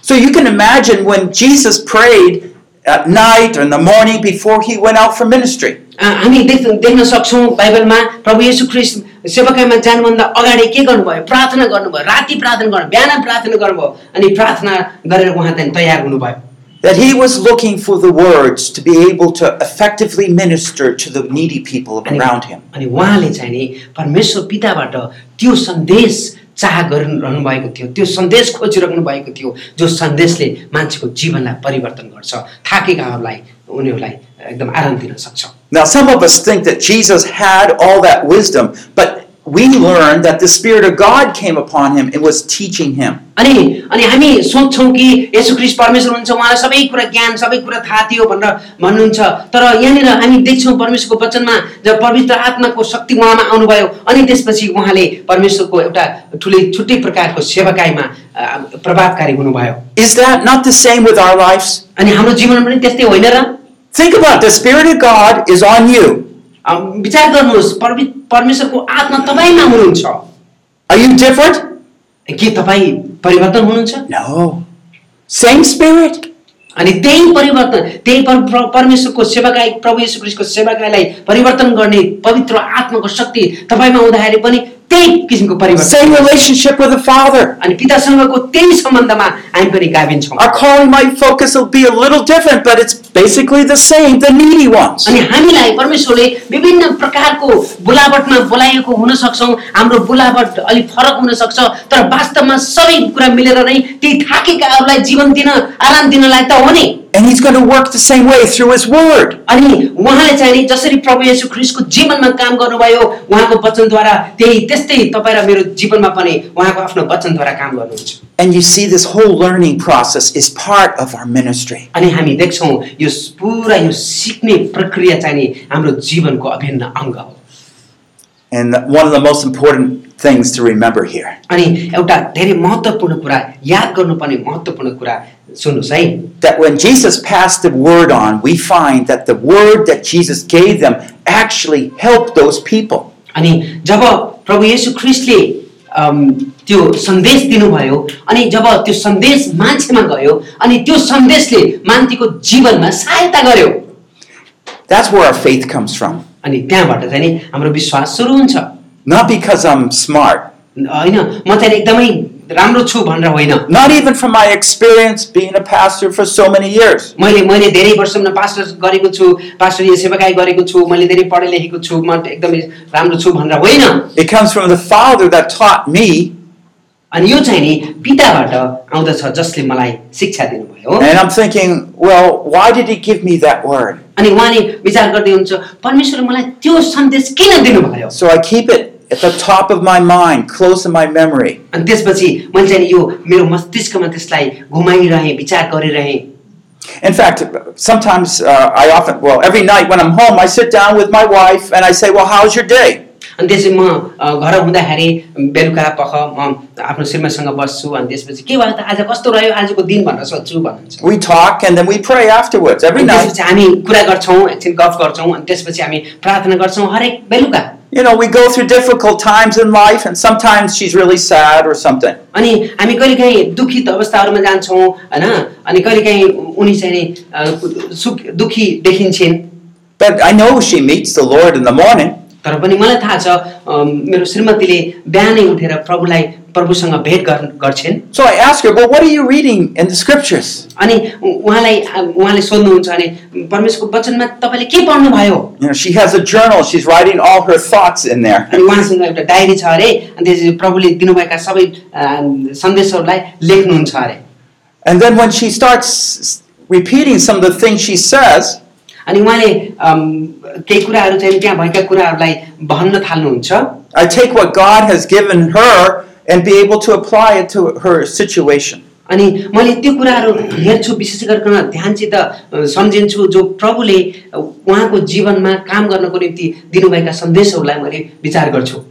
C: So you can imagine when Jesus prayed at night or in the morning before he went out for ministry.
B: अ, हामी देख् देख्न सक्छौँ बाइबलमा प्रभु येशू ख्रिस्ट सेवाकाईमा जानुभन्दा अगाडि के गर्नुभयो प्रार्थना गर्नुभयो राति प्रार्थना गर्नु बिहान प्रार्थना गर्नुभयो अनि प्रार्थना गरेर उहाँ त्यहाँदेखि तयार हुनुभयो
C: That he was looking for the words to be able to effectively minister to the needy people
B: अनि-
C: around him.
B: अनि उहाँले चाहिँ नि परमेश्वर पिताबाट त्यो सन्देश चाह गरिरहनु भएको थियो त्यो सन्देश खोजिरहनु भएको थियो जो सन्देशले मान्छेको जीवनलाई परिवर्तन गर्छ थाकेकाहरूलाई उनीहरूलाई एकदम आराम दिन सक्छ
C: Now, some of us think that Jesus had all that wisdom, but we learn that the Spirit of God came upon him and was teaching him.
B: अनि अनि हामी सोच्छौँ कि यसो क्रिस्ट परमेश्वर हुनुहुन्छ उहाँलाई सबै कुरा ज्ञान सबै कुरा थाहा थियो भनेर भन्नुहुन्छ तर यहाँनिर हामी देख्छौँ परमेश्वरको वचनमा जब पवित्र आत्माको शक्ति उहाँमा आउनुभयो अनि त्यसपछि उहाँले परमेश्वरको एउटा ठुलै छुट्टै प्रकारको सेवाकाईमा अ, प्रभावकारी हुनुभयो
C: Is that not the same with our lives?
B: अनि हाम्रो जीवन पनि त्यस्तै होइन र
C: Think about it. the Spirit of God is on you.
B: अम, विचार गर्नुहोस् परमे- परमेश्वरको आत्मा तपाईँमा हुनुहुन्छ
C: Are you different?
B: के तपाईँ परिवर्तन हुनुहुन्छ
C: No. Same Spirit.
B: अनि त्यही परिवर्तन त्यही पर- पर- परमेश्वरको सेवाकाई प्रभु येशू क्रिस्टको सेवाकाईलाई परिवर्तन गर्ने पवित्र आत्माको शक्ति तपाईँमा हुँदाखेरि पनि त्यही किसिमको परिवर्तन
C: Same relationship with the Father.
B: अनि पितासँगको त्यही सम्बन्धमा हामी पनि गाभिन्छौँ
C: Our calling might focus will be a little different, but it's basically the same, the needy ones.
B: अनि हामीलाई परमेश्वरले विभिन्न प्रकारको बोलावटमा बोलाएको हुन सक्छौँ हाम्रो बोलावट अलिक फरक हुन सक्छ तर वास्तवमा सबै कुरा मिलेर नै ती थाकेकाहरूलाई जीवन दिन आराम दिनलाई त हो नि
C: And He's going to work the same way through His Word.
B: अनि उहाँले चाहिँ नि जसरी प्रभु येशू ख्रिस्टको जीवनमा काम गर्नुभयो उहाँको वचनद्वारा त्यही त्यस्तै तपाईँ र मेरो जीवनमा पनि उहाँको आफ्नो वचनद्वारा काम गर्नुहुन्छ
C: And you see, this whole learning process is part of our ministry.
B: अनि हामी देख्छौँ यो पुरा यो सिक्ने प्रक्रिया चाहिँ नि हाम्रो जीवनको अभिन्न अङ्ग हो
C: And one of the most important things to remember here
B: अनि एउटा धेरै महत्त्वपूर्ण कुरा याद गर्नुपर्ने महत्त्वपूर्ण कुरा सुन्नुहोस् है
C: that when Jesus passed the word on, we find that the word that Jesus gave them actually helped those people.
B: अनि जब प्रभु येशू ख्रिस्टले अम, त्यो सन्देश दिनुभयो अनि जब त्यो सन्देश मान्छेमा गयो अनि त्यो सन्देशले मान्छेको जीवनमा सहायता गर्यो
C: That's where our faith comes from.
B: अनि त्यहाँबाट चाहिँ नि हाम्रो विश्वास सुरु हुन्छ
C: Not because I'm smart,
B: होइन म चाहिँ नि एकदमै राम्रो छु भनेर होइन
C: not even from my experience being a pastor for so many years.
B: मैले मैले धेरै वर्षमा पास्टर गरेको छु पास्टर यो सेवाकाई गरेको छु मैले धेरै पढे लेखेको छु म एकदमै राम्रो छु भनेर होइन
C: It comes from the Father that taught me,
B: अनि यो चाहिँ नि पिताबाट आउँदछ जसले मलाई शिक्षा दिनुभयो
C: and I'm thinking, well, why did He give me that word?
B: अनि उहाँले विचार गर्दै हुन्छ परमेश्वरले मलाई त्यो सन्देश किन दिनुभयो
C: So I keep it at the top of my mind, close in my memory.
B: अनि त्यसपछि मैले चाहिँ नि यो मेरो मस्तिष्कमा त्यसलाई घुमाइरहेँ विचार गरिरहेँ
C: In fact, sometimes uh, I often, well, every night when I'm home, I sit down with my wife and I say, Well, how's your day?
B: अनि त्यसपछि म अ, घर हुँदाखेरि बेलुका पख म आफ्नो श्रीमासँग बस्छु अनि त्यसपछि के भयो त आज कस्तो रह्यो आजको दिन भनेर सोध्छु भन्नुहुन्छ
C: We talk and then we pray afterwards every
B: अनि
C: night.
B: त्यसपछि हामी कुरा गर्छौँ एकछिन गफ गर्छौँ अनि त्यसपछि हामी प्रार्थना गर्छौँ हरेक बेलुका
C: You know, we go through difficult times in life and sometimes she's really sad or something.
B: अनि हामी कहिलेकाहीँ दुखित अवस्थाहरूमा जान्छौँ होइन अनि कहिलेकाहीँ उनी चाहिँ नि अ, सुख दुखी देखिन्छन्
C: But I know she meets the Lord in the morning.
B: तर पनि मलाई थाहा छ अम, मेरो श्रीमतीले बिहानै उठेर प्रभुलाई प्रभुसँग भेट गर् गर्छन्
C: So I ask her, Well, what are you reading in the scriptures?
B: अनि उ- उहाँलाई अ, उहाँले सोध्नुहुन्छ अनि परमेश्वरको वचनमा तपाईँले के पढ्नुभयो
C: You know, she has a journal, she's writing all her thoughts in there.
B: अनि उहाँसँग एउटा डायरी छ अरे अनि त्यसपछि प्रभुले दिनुभएका सबै अ, सन्देशहरूलाई लेख्नुहुन्छ अरे
C: And then when she starts s- repeating some of the things she says,
B: अनि उहाँले अम, केही कुराहरू चाहिँ त्यहाँ भएका कुराहरूलाई भन्न थाल्नुहुन्छ
C: I take what God has given her and be able to apply it to her situation.
B: अनि मैले त्यो कुराहरू हेर्छु विशेष गरिकन ध्यानसित अ, सम्झिन्छु जो प्रभुले उहाँको जीवनमा काम गर्नको निम्ति दिनुभएका सन्देशहरूलाई मैले विचार गर्छु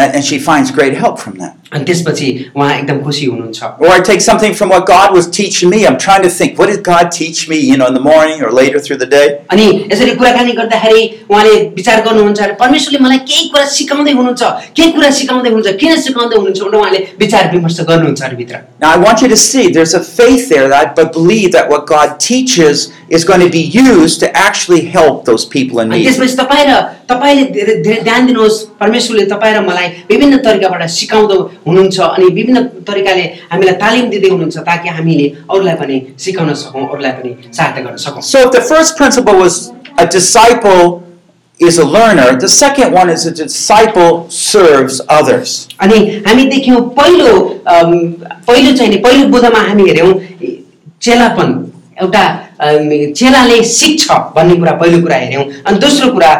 C: And, and she finds great help from that.
B: अनि त्यसपछि उहाँ एकदम खुसी हुनुहुन्छ
C: Or I take something from what God was teaching me. I'm trying to think, what did God teach me, you know, in the morning or later through the day?
B: अनि यसरी कुराकानी गर्दाखेरि उहाँले विचार गर्नुहुन्छ अरे परमेश्वरले मलाई केही कुरा सिकाउँदै हुनुहुन्छ केही कुरा सिकाउँदै हुनुहुन्छ किन सिकाउँदै हुनुहुन्छ भनेर उहाँले विचार विमर्श गर्नुहुन्छ अरे भित्र
C: Now I want you to see there's a faith there that I but believe that what God teaches is going to be used to actually help those people in
B: अनि
C: need.
B: त्यसपछि तपाईँ र तपाईँले धेरै धेरै ध्यान दिनुहोस् परमेश्वरले तपाईँ र मलाई विभिन्न तरिकाबाट सिकाउँदो हुनुहुन्छ अनि विभिन्न तरिकाले हामीलाई तालिम दिँदै हुनुहुन्छ ताकि हामीले अरूलाई पनि सिकाउन सकौँ अरूलाई पनि सहायता गर्न सकौँ
C: So if the first principle was a disciple is a learner, the second one is a disciple serves others.
B: अनि हामी देख्यौँ पहिलो अम, पहिलो चाहिँ नि पहिलो बुधमा हामी हेऱ्यौँ चेलापन एउटा अम, चेलाले सिक्छ भन्ने कुरा पहिलो कुरा हेऱ्यौँ अनि दोस्रो कुरा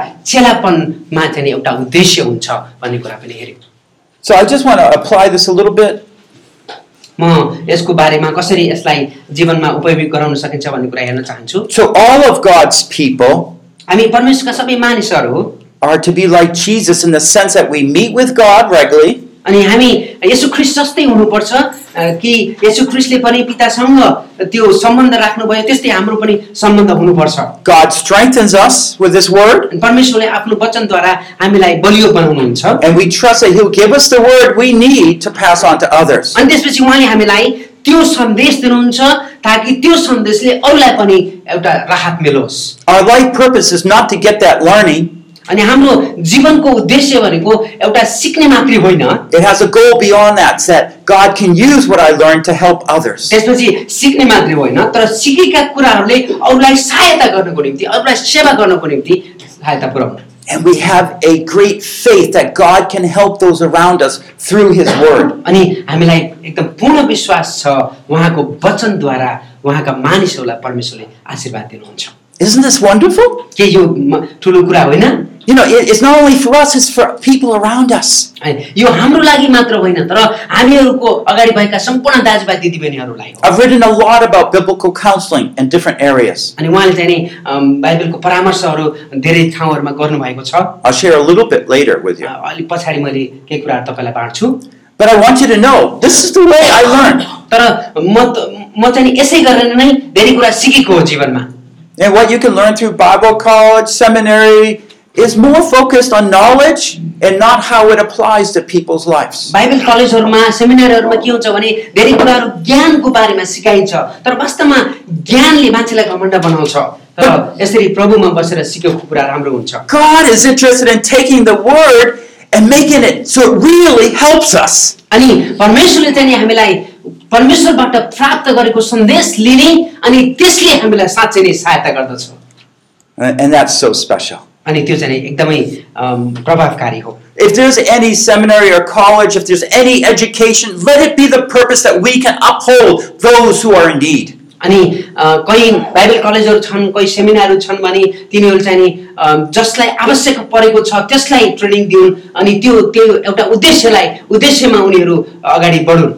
B: चेलापनमा चाहिँ नि एउटा उद्देश्य हुन्छ भन्ने कुरा पनि हेऱ्यौँ
C: So I just want to apply this a little bit.
B: म यसको बारेमा कसरी यसलाई जीवनमा उपयोग गराउन सकिन्छ भन्ने कुरा हेर्न चाहन्छु
C: So all of God's people
B: हामी परमेश्वरका सबै मानिसहरू हो
C: are to be like Jesus in the sense that we meet with God regularly.
B: अनि हामी यसु ख्रिस्ट जस्तै हुनुपर्छ अ, कि यसु ख्रिस्टले पनि पितासँग त्यो सम्बन्ध राख्नुभयो त्यस्तै हाम्रो पनि सम्बन्ध हुनुपर्छ
C: God strengthens us with His Word,
B: अनि परमेश्वरले आफ्नो वचनद्वारा हामीलाई बलियो बनाउनुहुन्छ
C: and we trust that He'll give us the Word we need to pass on to others.
B: अनि त्यसपछि उहाँले हामीलाई त्यो सन्देश दिनुहुन्छ ताकि त्यो सन्देशले अरूलाई पनि एउटा राहत मिलोस्
C: Our life purpose is not to get that learning,
B: अनि हाम्रो जीवनको उद्देश्य भनेको एउटा सिक्ने मात्रै होइन
C: it has a goal beyond that, it's that God can use what I learned to help others.
B: त्यसपछि सिक्ने मात्रै होइन तर सिकेका कुराहरूले अरूलाई सहायता गर्नको निम्ति अरूलाई सेवा गर्नको निम्ति सहायता पुऱ्याउनु
C: And we have a great faith that God can help those around us through His Word.
B: अनि हामीलाई एकदम पूर्ण विश्वास छ उहाँको वचनद्वारा उहाँका मानिसहरूलाई परमेश्वरले आशीर्वाद दिनुहुन्छ
C: Isn't this wonderful?
B: के यो म- ठुलो कुरा होइन
C: You know, it- it's not only for us, it's for people around us.
B: अनि यो हाम्रो लागि मात्र होइन तर हामीहरूको अगाडि भएका सम्पूर्ण दाजुभाइ दिदीबहिनीहरूलाई हो।
C: I've written a lot about biblical counseling in different areas.
B: अनि उहाँले चाहिँ नि अम, बाइबलको परामर्शहरू धेरै ठाउँहरूमा गर्नुभएको छ
C: I'll share a little bit later with
B: a,
C: you.
B: अलिक पछाडि मैले केही कुराहरू तपाईँलाई बाँड्छु
C: But I want you to know this is the way I learned.
B: तर म त म चाहिँ नि यसै गरेर नै धेरै कुरा सिकेको हो जीवनमा
C: And what you can learn through Bible college, seminary, is more focused on knowledge and not how it applies to people's lives.
B: Bible कलेजहरूमा सेमिनारहरूमा के हुन्छ भने धेरै कुराहरू ज्ञानको बारेमा सिकाइन्छ तर वास्तवमा ज्ञानले मान्छेलाई घमण्ड बनाउँछ तर यसरी प्रभुमा बसेर सिकेको कुरा राम्रो हुन्छ
C: God is interested in taking the word and making it so it really helps us.
B: अनि परमेश्वरले चाहिँ नि हामीलाई परमेश्वरबाट प्राप्त गरेको सन्देश लिने अनि त्यसले हामीलाई साँच्चै नै सहायता गर्दछ
C: And and that's so special.
B: अनि त्यो चाहिँ नि एकदमै अम, प्रभावकारी हो
C: If there's any seminary or college, if there's any education, let it be the purpose that we can uphold those who are in need.
B: अनि अ, कहीँ बाइबल कलेजहरू छन् कोही सेमिनारहरू छन् भने तिनीहरू चाहिँ नि अम, जसलाई आवश्यक परेको छ त्यसलाई ट्रेनिङ दिउन् अनि त्यो त्यो एउटा उद्देश्यलाई उद्देश्यमा उनीहरू अगाडि बढुन्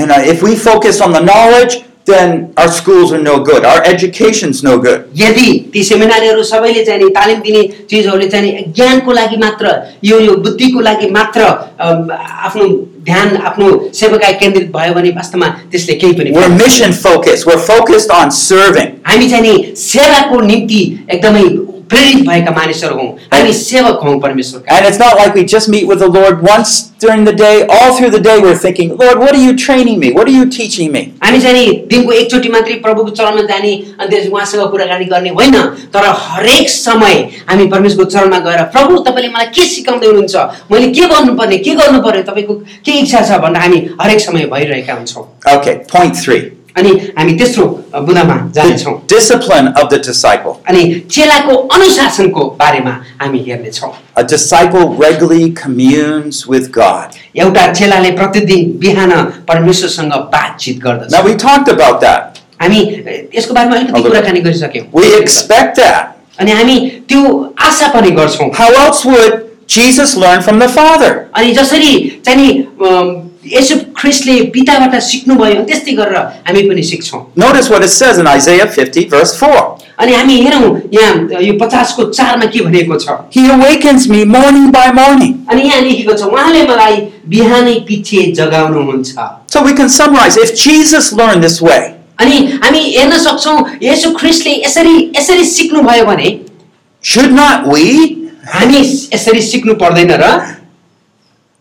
C: And uh, if we focus on the knowledge, then our schools are no good. Our education's no good.
B: यदि ती सेमिनारहरू सबैले चाहिँ नि तालिम दिने चिजहरूले चाहिँ नि ज्ञानको लागि मात्र यो यो बुद्धिको लागि मात्र अम, आफ्नो ध्यान आफ्नो सेवाकाय केन्द्रित भयो भने वास्तवमा त्यसले केही पनि
C: We're mission focused. We're focused on serving.
B: हामी चाहिँ नि सेवाको निम्ति एकदमै प्रेरित भएका मानिसहरू हौँ हामी सेवक हौँ परमेश्वरका
C: And it's not like we just meet with the Lord once during the day. All through the day, we're thinking, Lord, what are you training me? What are you teaching me?
B: हामी चाहिँ नि दिनको एकचोटि मात्रै प्रभुको चरणमा जाने अनि त्यसपछि उहाँसँग कुराकानी गर्ने होइन तर हरेक समय हामी परमेश्वरको चरणमा गएर प्रभु तपाईँले मलाई के सिकाउँदै हुनुहुन्छ मैले के गर्नुपर्ने के गर्नु पर्यो तपाईँको के इच्छा छ भनेर हामी हरेक समय भइरहेका हुन्छौँ
C: Okay, point three
B: अनि हामी तेस्रो बुदामा जानेछौँ
C: the discipline of the disciple.
B: अनि चेलाको अनुशासनको बारेमा हामी हेर्नेछौँ
C: A disciple regularly communes with God.
B: एउटा चेलाले प्रतिदिन बिहान परमेश्वरसँग बातचित गर्दछ
C: Now, we talked about that.
B: हामी यसको बारेमा अलिकति कुराकानी गरिसक्यौँ
C: We expect that.
B: अनि हामी त्यो आशा पनि गर्छौँ
C: How else would Jesus learn from the Father?
B: अनि जसरी चाहिँ नि अम, यसो ख्रिस्टले पिताबाट सिक्नुभयो अनि त्यस्तै गरेर हामी पनि सिक्छौँ
C: Notice what it says in Isaiah 50, verse 4.
B: अनि हामी हेरौँ यहाँ यो पचासको चारमा के भनेको छ
C: He awakens me morning by morning.
B: अनि यहाँ लेखेको छ उहाँले मलाई बिहानै पछि जगाउनुहुन्छ
C: So we can summarize if Jesus learned this way,
B: अनि हामी हेर्न सक्छौँ यसो ख्रिस्टले यसरी यसरी सिक्नुभयो भने
C: should not we?
B: हामी यसरी सिक्नु पर्दैन र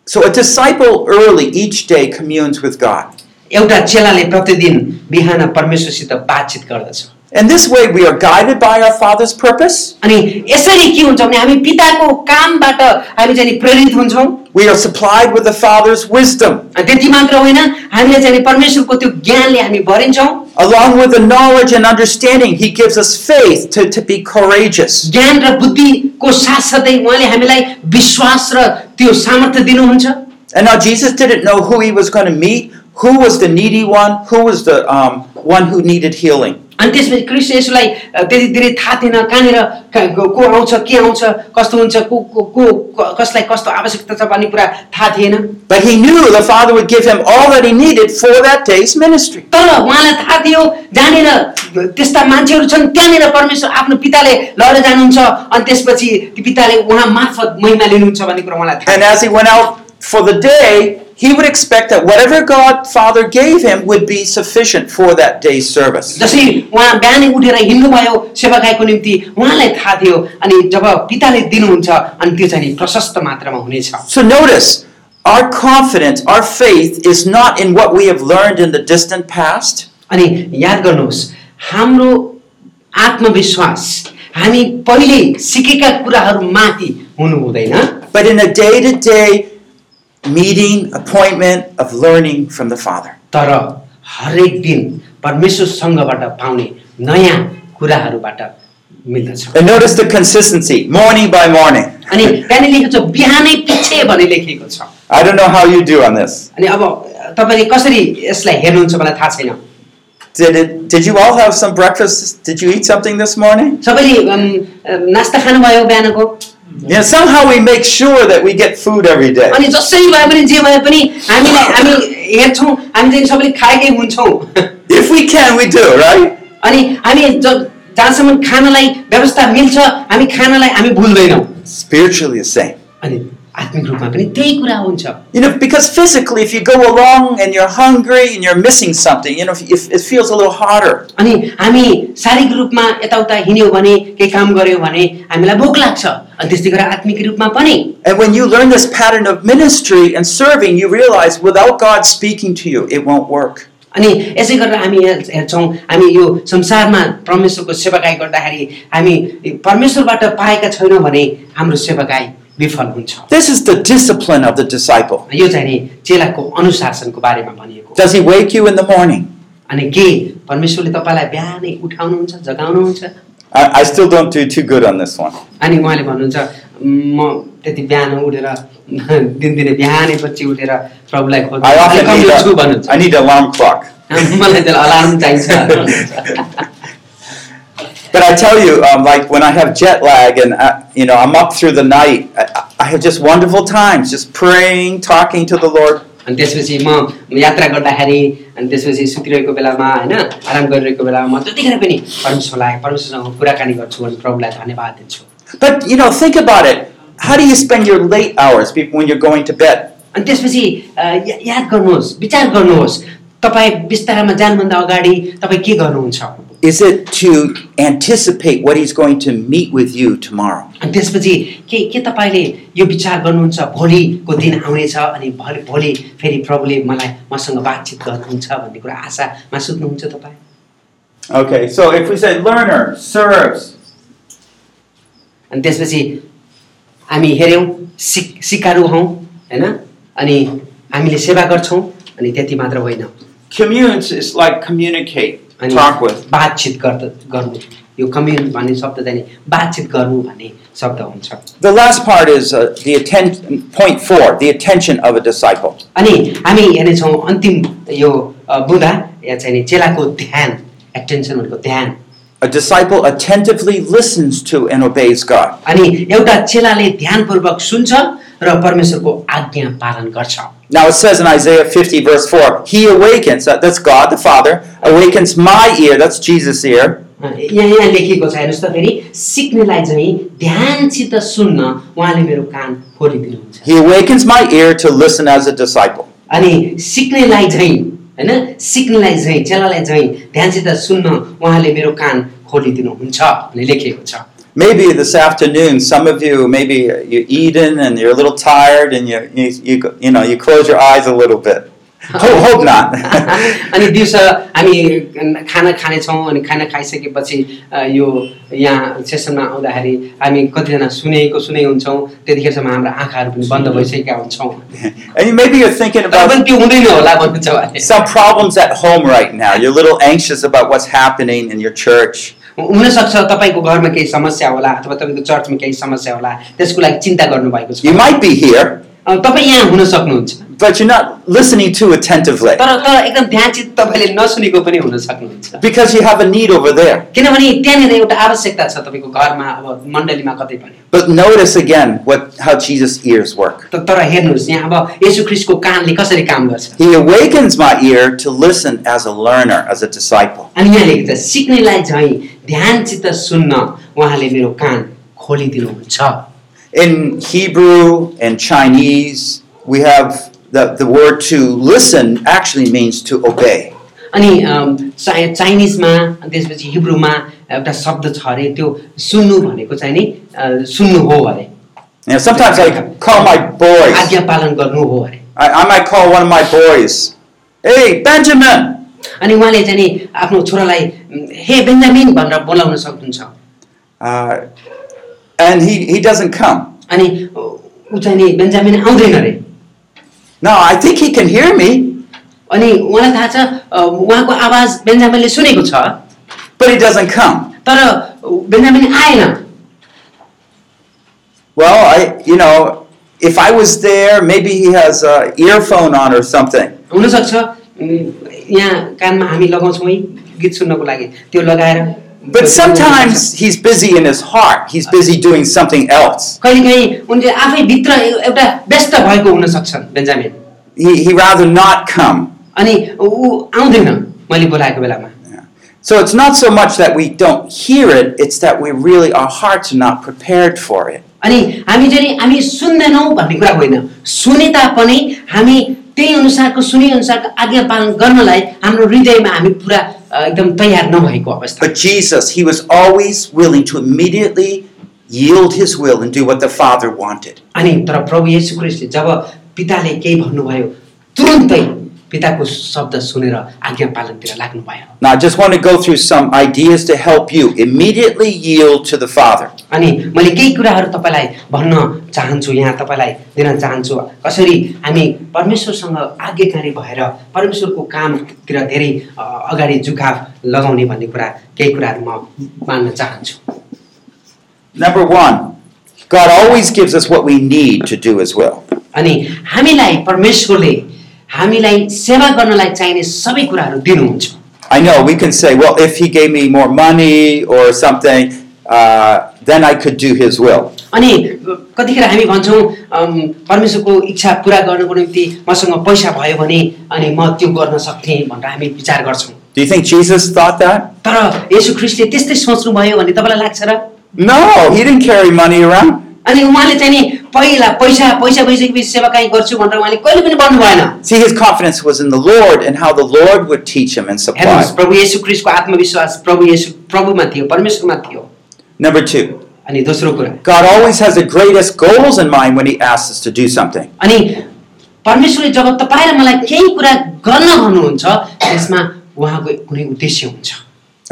C: So a disciple early each day communes with God.
B: एउटा चेलाले प्रतिदिन बिहान परमेश्वरसित बातचित गर्दछ
C: And this way we are guided by our Father's purpose.
B: अनि यसरी के हुन्छ भने हामी पिताको कामबाट हामी चाहिँ नि प्रेरित हुन्छौँ
C: We are supplied with the Father's wisdom,
B: अनि त्यति मात्र होइन हामीले चाहिँ नि परमेश्वरको त्यो ज्ञानले हामी भरिन्छौँ
C: along with the knowledge and understanding. He gives us faith to, to be courageous.
B: ज्ञान र बुद्धिको साथसाथै उहाँले हामीलाई विश्वास र त्यो सामर्थ्य दिनुहुन्छ
C: And now Jesus didn't know who he was going to meet, who was the needy one, who was the um, one who needed healing.
B: अनि त्यसपछि कृष्ण यसोलाई अ, त्यति धेरै थाहा थिएन कहाँनिर का- को को आउँछ के आउँछ कस्तो हुन्छ को को को- क- कसलाई कस्तो आवश्यकता छ भन्ने कुरा थाहा थिएन
C: But he knew the Father would give him all that he needed for that day's ministry.
B: तर उहाँलाई थाहा थियो जहाँनिर त्यस्ता मान्छेहरू छन् त्यहाँनिर परमेश्वर आफ्नो पिताले लगेर जानुहुन्छ अनि त्यसपछि ती पिताले उहाँ मार्फत महिमा लिनुहुन्छ भन्ने कुरा उहाँलाई थाहा
C: And as he went out for the day, he would expect that whatever God Father gave him would be sufficient for that day's service.
B: जसरी उहाँ बिहानै उठेर हिँड्नुभयो सेवाकाईको निम्ति उहाँलाई थाहा थियो अनि जब पिताले दिनुहुन्छ अनि त्यो चाहिँ नि प्रशस्त मात्रामा हुनेछ
C: So notice, our confidence, our faith is not in what we have learned in the distant past,
B: अनि याद गर्नुहोस् हाम्रो आत्मविश्वास हामी पहिले सिकेका कुराहरूमाथि हुनु हुँदैन
C: but in a day to day meeting, appointment of learning from the Father.
B: तर हरेक दिन परमेश्वरसँगबाट पाउने नयाँ कुराहरूबाट मिल्दछ
C: And notice the consistency, morning by morning.
B: अनि त्यहाँनिर लेखेको छ बिहानै पछि भने लेखिएको छ
C: I don't know how you do on this.
B: अनि अब तपाईँले कसरी यसलाई हेर्नुहुन्छ मलाई थाहा छैन
C: Did, it, did you all have some breakfast? Did you eat something this morning?
B: सबैले अम, अम, नास्ता खानुभयो बिहानको
C: Yeah, somehow we make sure that we get food every day.
B: अनि जसरी भए पनि जे भए पनि हामीलाई हामी हेर्छौँ हामी चाहिँ सबैले खाएकै हुन्छौँ
C: If we can, we do, right?
B: अनि हामी ज- जहाँसम्म खानालाई व्यवस्था मिल्छ हामी खानालाई हामी भुल्दैनौँ
C: Spiritually, the same.
B: अनि आत्मिक रूपमा पनि त्यही कुरा हुन्छ
C: You know, because physically, if you go along and you're hungry and you're missing something, you know, if it feels a little harder.
B: अनि हामी शारीरिक रूपमा यताउता हिँड्यौँ भने केही काम गऱ्यौँ भने हामीलाई भोक लाग्छ अनि त्यस्तै गरेर आत्मिक रूपमा पनि
C: And when you learn this pattern of ministry and serving, you realize without God speaking to you, it won't work.
B: अनि यसै गरेर हामी हेर- हेर्छौँ हामी यो संसारमा परमेश्वरको सेवाकाई गर्दाखेरि हामी परमेश्वरबाट पाएका छैनौँ भने हाम्रो सेवाकाई विफल हुन्छ
C: This is the discipline of the disciple.
B: यो चाहिँ नि चेलाको अनुशासनको बारेमा भनिएको
C: Does he wake you in the morning?
B: अनि के परमेश्वरले तपाईँलाई बिहानै उठाउनुहुन्छ जगाउनुहुन्छ
C: I, I still don't do too good on this one.
B: अनि उहाँले भन्नुहुन्छ म त्यति बिहान उठेर दिनदिनै बिहानै पछि उठेर प्रभुलाई खोज्छु
C: I
B: अलिक
C: often
B: कमजोर छु
C: need
B: भन्नुहुन्छ
C: a, I need an alarm clock.
B: (laughs) मलाई त्यसलाई अलार्म चाहिन्छ
C: But I tell you, um, like when I have jet lag and I, you know I'm up through the night, I, I have just wonderful times, just praying, talking to the Lord.
B: अनि त्यसपछि म यात्रा गर्दाखेरि अनि त्यसपछि सुतिरहेको बेलामा होइन आराम गरिरहेको बेलामा म जतिखेर पनि परमेश्वरलाई परमेश्वरसँग कुराकानी गर्छु अनि प्रभुलाई धन्यवाद दिन्छु
C: But you know, think about it. How do you spend your late hours be- when you're going to bed?
B: अनि त्यसपछि अ, या- याद गर्नुहोस् विचार गर्नुहोस् तपाईँ बिस्तारामा जानुभन्दा अगाडि तपाईँ के गर्नुहुन्छ अनि
C: Is it to anticipate what He's going to meet with you tomorrow?
B: त्यसपछि के के तपाईँले यो विचार गर्नुहुन्छ भोलिको दिन आउनेछ अनि भोलि भोलि फेरि प्रभुले मलाई मसँग बातचित गर्नुहुन्छ भन्ने कुरा आशामा सुत्नुहुन्छ तपाईँ
C: Okay, so if we say learner serves,
B: अनि त्यसपछि हामी हेऱ्यौँ सिक सिकारु हौँ होइन अनि हामीले सेवा गर्छौँ अनि त्यति मात्र होइन
C: communes is like communicate,
B: अनि बातचित गर्द गर्नु यो कम्युन भन्ने शब्द चाहिँ बातचित गर्नु भन्ने शब्द हुन्छ
C: The last part is uh, the attention. Point four: the attention of a disciple.
B: अनि हामी हेर्नेछौँ अन्तिम यो अ, बुधा या चाहिँ नि चेलाको ध्यान एटेन्सन भनेको ध्यान
C: A disciple attentively listens to and obeys God.
B: अनि एउटा चेलाले ध्यानपूर्वक सुन्छ र परमेश्वरको आज्ञा पालन गर्छ
C: Now it says in Isaiah 50, verse 4, He awakens, that- that's God the Father, awakens my ear, that's Jesus' ear,
B: यहाँ यहाँ लेखिएको छ हेर्नुहोस् त फेरि सिक्नेलाई चाहिँ ध्यानसित सुन्न उहाँले मेरो कान खोलिदिनुहुन्छ
C: He awakens my ear to listen as a disciple.
B: अनि सिक्नेलाई चाहिँ होइन सिक्नेलाई चाहिँ चेलालाई चाहिँ ध्यानसित सुन्न उहाँले मेरो कान खोलिदिनुहुन्छ भन्ने लेखिएको छ
C: Maybe this afternoon, some of you, maybe you're eating and you're a little tired and you, you, you, go- you know, you close your eyes a little bit. Hope, hope not. (laughs)
B: (laughs) अनि दिउँसो हामी खाना खानेछौँ अनि खाना खाइसकेपछि अ, यो यहाँ सेसनमा आउँदाखेरि हामी कतिजना सुनेको सुने हुन्छौँ त्यतिखेरसम्म हाम्रो आँखाहरू पनि बन्द भइसकेका हुन्छौँ
C: and you, maybe you're thinking
B: तर पनि
C: about
B: त्यो हुँदैन होला भन्नुहुन्छ उहाँले।
C: some problems at home right now. You're a little anxious about what's happening in your church.
B: हुनसक्छ तपाईँको घरमा केही समस्या होला अथवा तपाईँको चर्चमा केही समस्या होला त्यसको लागि चिन्ता गर्नुभएको छ
C: You might be here,
B: अ, तपाईँ यहाँ हुन सक्नुहुन्छ
C: but you're not listening too attentively
B: तर तर एकदम ध्यानचित तपाईँले नसुनेको पनि हुन सक्नुहुन्छ
C: because you have a need over there.
B: किनभने त्यहाँनिर एउटा आवश्यकता छ तपाईँको घरमा अब मण्डलीमा कतै पनि
C: But notice again what, how Jesus' ears work.
B: त- तर हेर्नुहोस् यहाँ अब येशू ख्रिस्टको कानले कसरी काम गर्छ
C: He awakens my ear to listen as a learner, as a disciple.
B: अनि यहाँ लेखेको छ सिक्नेलाई झैँ ध्यानसित सुन्न उहाँले मेरो कान खोलिदिनुहुन्छ
C: In Hebrew and Chinese, we have the, the word to listen actually means to obey.
B: अनि अम, चा- चाइनिजमा अनि त्यसपछि हिब्रूमा एउटा शब्द छ अरे त्यो सुन्नु भनेको चाहिँ नि अ, सुन्नु हो अरे
C: Now, sometimes I call my boys,
B: आज्ञा पालन गर्नु हो अरे
C: I, I might call one of my boys, hey, Benjamin!
B: अनि उहाँले चाहिँ नि आफ्नो छोरालाई "उम्, हे बेन्जामिन भनेर बोलाउन सक्नुहुन्छ
C: Uh, and he, he doesn't come.
B: अनि ऊ चाहिँ नि बेन्जामिन आउँदैन अरे
C: No, I think he can hear me,
B: अनि उहाँलाई थाहा छ अ, उहाँको आवाज बेन्जामिनले सुनेको छ
C: but he doesn't come.
B: तर बेन्जामिन आएन
C: Well, I, you know, if I was there, maybe he has a earphone on or something.
B: हुनसक्छ उम्, यहाँ कानमा हामी लगाउँछौँ है गीत सुन्नको लागि त्यो लगाएर
C: But sometimes he's busy in his heart. He's busy doing something else.
B: कहिलेकाहीँ उनले आफै भित्र ए- एउटा व्यस्त भएको हुन सक्छन् Benjamin
C: He he rather not come.
B: अनि ऊ आउँदैन मैले बोलाएको बेलामा
C: So it's not so much that we don't hear it; it's that we really our hearts are not prepared for it.
B: अनि हामी चाहिँ नि हामी सुन्दैनौँ भन्ने कुरा होइन सुने तापनि हामी त्यही अनुसारको सुने अनुसारको आज्ञा पालन गर्नलाई हाम्रो हृदयमा हामी पुरा अ, एकदम तयार नभएको अवस्था
C: But Jesus, he was always willing to immediately yield his will and do what the Father wanted.
B: अनि तर प्रभु येशू क्रिस्टले जब पिताले केही भन्नुभयो तुरुन्तै पिताको शब्द सुनेर आज्ञा पालनतिर लाग्नुभयो
C: Now I just want to go through some ideas to help you immediately yield to the Father.
B: अनि मैले केही कुराहरू तपाईँलाई भन्न चाहन्छु यहाँ तपाईँलाई दिन चाहन्छु कसरी हामी परमेश्वरसँग आज्ञाकारी भएर परमेश्वरको कामतिर धेरै अ, अगाडि जुकाफ लगाउने भन्ने कुरा केही कुराहरू म मान्न चाहन्छु
C: Number one, God always gives us what we need to do His will.
B: अनि हामीलाई परमेश्वरले हामीलाई सेवा गर्नलाई चाहिने सबै कुराहरू दिनुहुन्छ
C: I know we can say, well, if He gave me more money or something, uh, then I could do His will.
B: अनि कतिखेर हामी भन्छौँ अम, परमेश्वरको इच्छा पुरा गर्नको निम्ति मसँग पैसा भयो भने अनि म त्यो गर्न सक्थेँ भनेर हामी विचार गर्छौँ
C: Do you think Jesus thought that?
B: तर यसु ख्रिस्टले त्यस्तै सोच्नुभयो भन्ने तपाईँलाई लाग्छ र
C: No, He didn't carry money around.
B: अनि उहाँले चाहिँ नि पहिला पैसा पैसा भइसकेपछि सेवा काहीँ गर्छु भनेर उहाँले कहिले पनि भन्नु भएन
C: See, His confidence was in the Lord and how the Lord would teach Him and supply.
B: हेर्नुहोस् प्रभु येशू ख्रिस्टको आत्मविश्वास प्रभु येशू प्रभुमा थियो परमेश्वरमा थियो
C: Number two,
B: अनि दोस्रो कुरा
C: God always has the greatest goals in mind when He asks us to do something.
B: अनि परमेश्वरले जब तपाईँ र मलाई केही कुरा गर्न भन्नुहुन्छ त्यसमा उहाँको कुनै उद्देश्य हुन्छ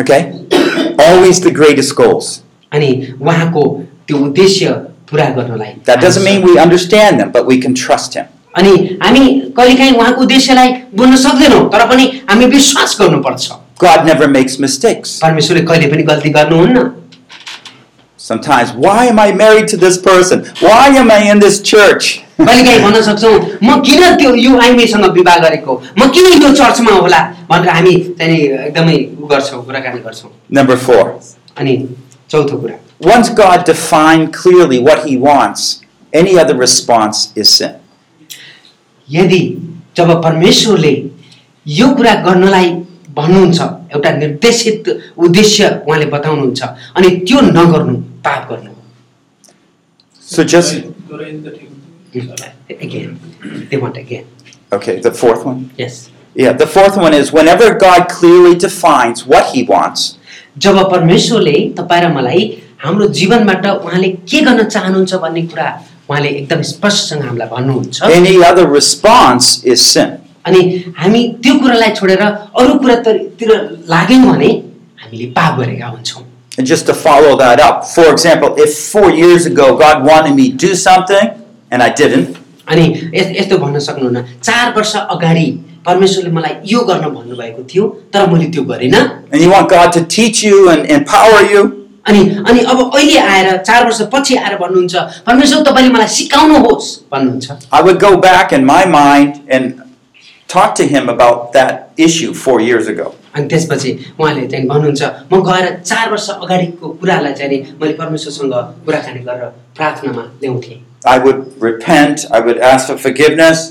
C: Okay? (coughs) always the greatest goals.
B: अनि उहाँको त्यो उद्देश्य पुरा गर्नलाई
C: That doesn't mean we understand them, but we can trust Him.
B: अनि हामी कहिलेकाहीँ उहाँको उद्देश्यलाई बुझ्न सक्दैनौँ तर पनि हामी विश्वास गर्नुपर्छ
C: God never makes mistakes.
B: परमेश्वरले कहिले पनि गल्ती गर्नुहुन्न
C: Sometimes, why am I married to this person? Why am I in this church?
B: कहिलेकाहीँ भन्न सक्छौँ म किन त्यो यो आइमीसँग विवाह गरेको म किन यो चर्चमा होला भनेर हामी त्यहाँनिर एकदमै उ गर्छौँ कुराकानी गर्छौँ
C: Number four,
B: अनि चौथो कुरा
C: once God defined clearly what He wants, any other response is sin.
B: यदि जब परमेश्वरले यो कुरा गर्नलाई भन्नुहुन्छ एउटा निर्देशित उद्देश्य उहाँले बताउनुहुन्छ अनि त्यो नगर्नु पाप गर्नु हो।
A: So just,
B: Again, they want again.
C: Okay, the fourth one.
B: Yes.
C: Yeah, the fourth one is whenever God clearly defines what he wants,
B: जब परमेश्वरले तपाईँ र मलाई हाम्रो जीवनबाट उहाँले के गर्न चाहनुहुन्छ भन्ने कुरा उहाँले एकदम स्पष्टसँग हामीलाई भन्नुहुन्छ
C: any other response is sin.
B: अनि हामी त्यो कुरालाई छोडेर अरू कुरातिर लाग्यौँ भने हामीले पाप गरेका हुन्छौँ
C: And just to follow that up, for example, if four years ago God wanted me to do something and I didn't,
B: अनि यस- यस्तो भन्न सक्नुहुन्न चार वर्ष अगाडि परमेश्वरले मलाई यो गर्न भन्नुभएको थियो तर मैले त्यो गरिनँ
C: and you want God to teach you and empower you,
B: अनि अनि अब अहिले आएर चार वर्ष पछि आएर भन्नुहुन्छ परमेश्वर तपाईँले मलाई सिकाउनुहोस् भन्नुहुन्छ
C: I would go back in my mind and talk to Him about that issue four years ago.
B: अनि त्यसपछि उहाँले चाहिँ भन्नुहुन्छ म गएर चार वर्ष अगाडिको कुरालाई चाहिँ नि मैले परमेश्वरसँग कुराकानी गरेर प्रार्थनामा ल्याउँथेँ
C: I would repent, I would ask for forgiveness,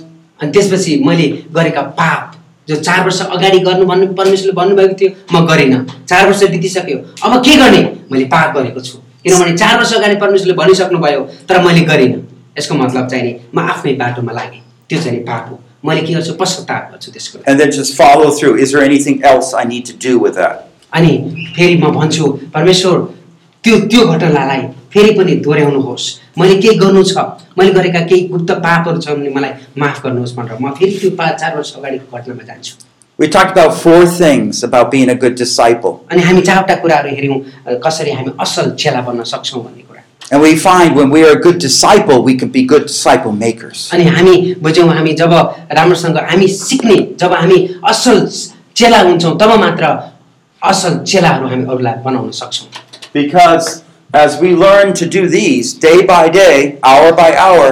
B: अनि त्यसपछि मैले गरेका पाप जो चार वर्ष अगाडि गर्नु भन्नु परमेश्वरले भन्नुभएको थियो म गरिनँ चार वर्ष बितिसक्यो अब के गर्ने मैले पाप गरेको छु किनभने चार वर्ष अगाडि परमेश्वरले भनिसक्नुभयो तर मैले गरिनँ यसको मतलब चाहिँ नि म आफ्नै बाटोमा लागेँ त्यो चाहिँ नि पाप हो मैले के गर्छु पश्चाताप गर्छु त्यसको लागि।
C: and then just follow through. Is there anything else I need to do with that?
B: अनि फेरि म भन्छु परमेश्वर त्यो त्यो घटनालाई फेरि पनि दोहोऱ्याउनुहोस् मैले केही गर्नु छ मैले गरेका केही गुप्त पापहरू छ भने मलाई माफ गर्नुहोस् भनेर म फेरि त्यो पाँच चार वर्ष अगाडिको घटनामा जान्छु
C: We talked about four things about being a good disciple,
B: अनि हामी चारवटा कुराहरू हेऱ्यौँ अ, कसरी हामी असल चेला बन्न सक्छौँ भन्ने कुरा
C: and we find when we are a good disciple, we can be good disciple makers.
B: अनि हामी बुझ्यौँ हामी जब राम्रोसँग हामी सिक्ने जब हामी असल चेला हुन्छौँ तब मात्र असल चेलाहरू हामी अरूलाई बनाउन सक्छौँ
C: Because as we learn to do these day by day, hour by hour,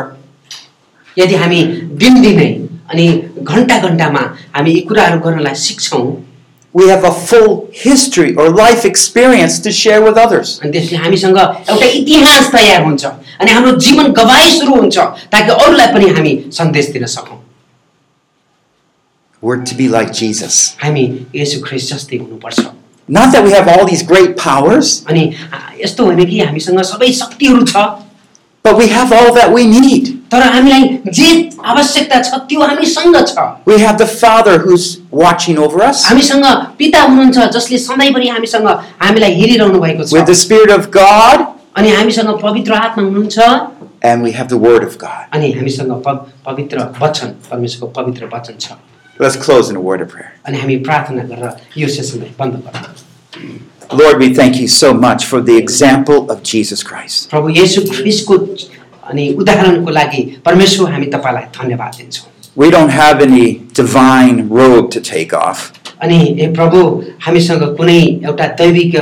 B: यदि हामी दिनदिनै अनि घन्टा घन्टामा हामी यी कुराहरू गर्नलाई सिक्छौँ
C: we have a full history or life experience to share with others.
B: अनि त्यसले हामीसँग एउटा इतिहास तयार हुन्छ अनि हाम्रो जीवन गवाई सुरु हुन्छ ताकि अरूलाई पनि हामी सन्देश दिन सकौँ
C: We're to be like Jesus.
B: हामी यसो ख्रिस जस्तै हुनुपर्छ
C: Not that we have all these great powers,
B: अनि आ- यस्तो होइन कि हामीसँग सबै शक्तिहरू छ
C: but we have all that we need.
B: तर हामीलाई जे आवश्यकता छ त्यो हामीसँग छ
C: We have the Father who's watching over us.
B: हामीसँग पिता हुनुहुन्छ जसले सधैँभरि हामीसँग हामीलाई हेरिरहनु भएको छ
C: with the Spirit of God,
B: अनि हामीसँग पवित्र आत्मा हुनुहुन्छ
C: and we have the Word of God.
B: अनि हामीसँग पव- पवित्र वचन परमेश्वरको पवित्र वचन छ
C: Let's close in a word of prayer.
B: अनि हामी प्रार्थना गरेर यो सेसनलाई बन्द गर्छौँ
C: Lord, we thank you so much for the example of Jesus Christ.
B: प्रभु येसु ख्रिस्टको अनि उदाहरणको लागि परमेश्वर हामी तपाईँलाई धन्यवाद दिन्छौँ
C: We don't have any divine robe to take off.
B: अनि हे प्रभु हामीसँग कुनै एउटा दैविक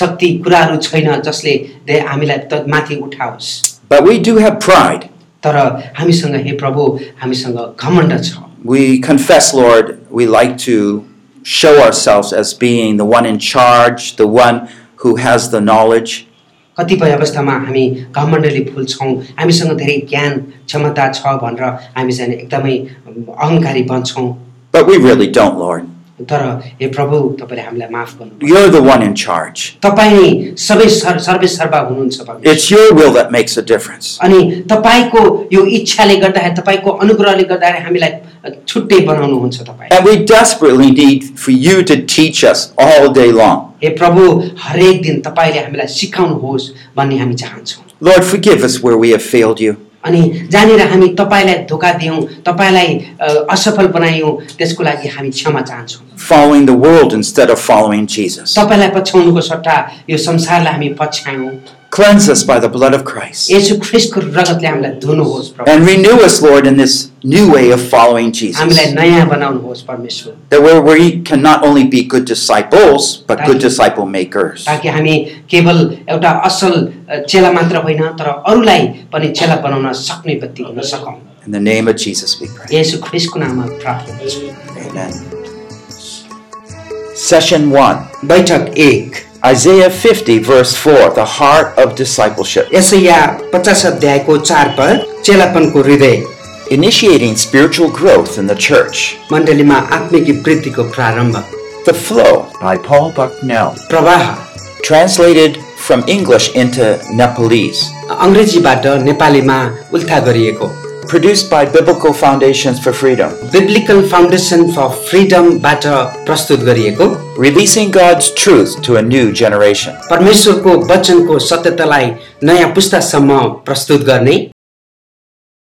B: शक्ति कुराहरू छैन जसले दे- हामीलाई त माथि उठाओस्
C: But we do have pride.
B: तर हामीसँग हे प्रभु हामीसँग घमण्ड छ
C: We confess, Lord, we like to show ourselves as being the one in charge, the one who has the knowledge.
B: कतिपय अवस्थामा हामी घमण्डले फुल्छौँ हामीसँग धेरै ज्ञान क्षमता छ भनेर हामी चाहिँ एकदमै अहङ्कारी बन्छौँ
C: But we really don't, Lord.
B: तर हे प्रभु तपाईँले हामीलाई माफ गर्नु
C: You're the one in charge.
B: तपाईँ नै सबै सर सर्वे सर्वा हुनुहुन्छ प्रभु।
C: It's your will that makes a difference.
B: अनि तपाईँको यो इच्छाले गर्दाखेरि तपाईँको अनुग्रहले गर्दाखेरि हामीलाई छुट्टै बनाउनुहुन्छ तपाईँ
C: And we desperately need for you to teach us all day long.
B: हे प्रभु हरेक दिन तपाईँले हामीलाई सिकाउनुहोस् भन्ने हामी चाहन्छौँ
C: Lord, forgive us where we have failed you.
B: अनि जहाँनिर हामी तपाईँलाई धोका दियौँ तपाईँलाई अ, असफल बनायौँ त्यसको लागि हामी क्षमा चाहन्छौँ
C: Following the world instead of following Jesus.
B: तपाईँलाई पछ्याउनुको सट्टा यो संसारलाई हामी पछ्यायौँ
C: Cleanse us by the blood of Christ.
B: यसो ख्रिस्टको रगतले हामीलाई धुनुहोस् प्रभु
C: And renew us, Lord, in this new way of following
B: हामीलाई
C: Jesus.
B: नयाँ बनाउनुहोस् परमेश्वर
C: That where we can not only be good disciples, but good disciple makers.
B: ताकि हामी केवल एउटा असल अ, चेला मात्र होइन तर अरूलाई पनि चेला बनाउन सक्ने व्यक्ति हुन सकौँ
C: In the name of Jesus, we pray.
B: यसो ख्रिस्टको नाममा प्रार्थना गर्छु
C: Amen. Session 1,
D: बैठक एक
A: Isaiah 50, verse 4, the heart of discipleship.
D: यसैया पचास अध्यायको चार पर चेलापनको हृदय
C: initiating spiritual growth in the church.
B: मण्डलीमा आत्मिक वृद्धिको प्रारम्भ
C: The Flow by Paul Bucknell,
B: प्रवाह
C: translated from English into Nepalese,
B: अङ्ग्रेजीबाट नेपालीमा उल्था गरिएको
C: produced by Biblical Foundations for Freedom,
B: Biblical foundation for फ्रिडमबाट प्रस्तुत गरिएको
C: releasing God's truth to a new generation.
B: परमेश्वरको वचनको सत्यतालाई नयाँ पुस्तासम्म प्रस्तुत गर्ने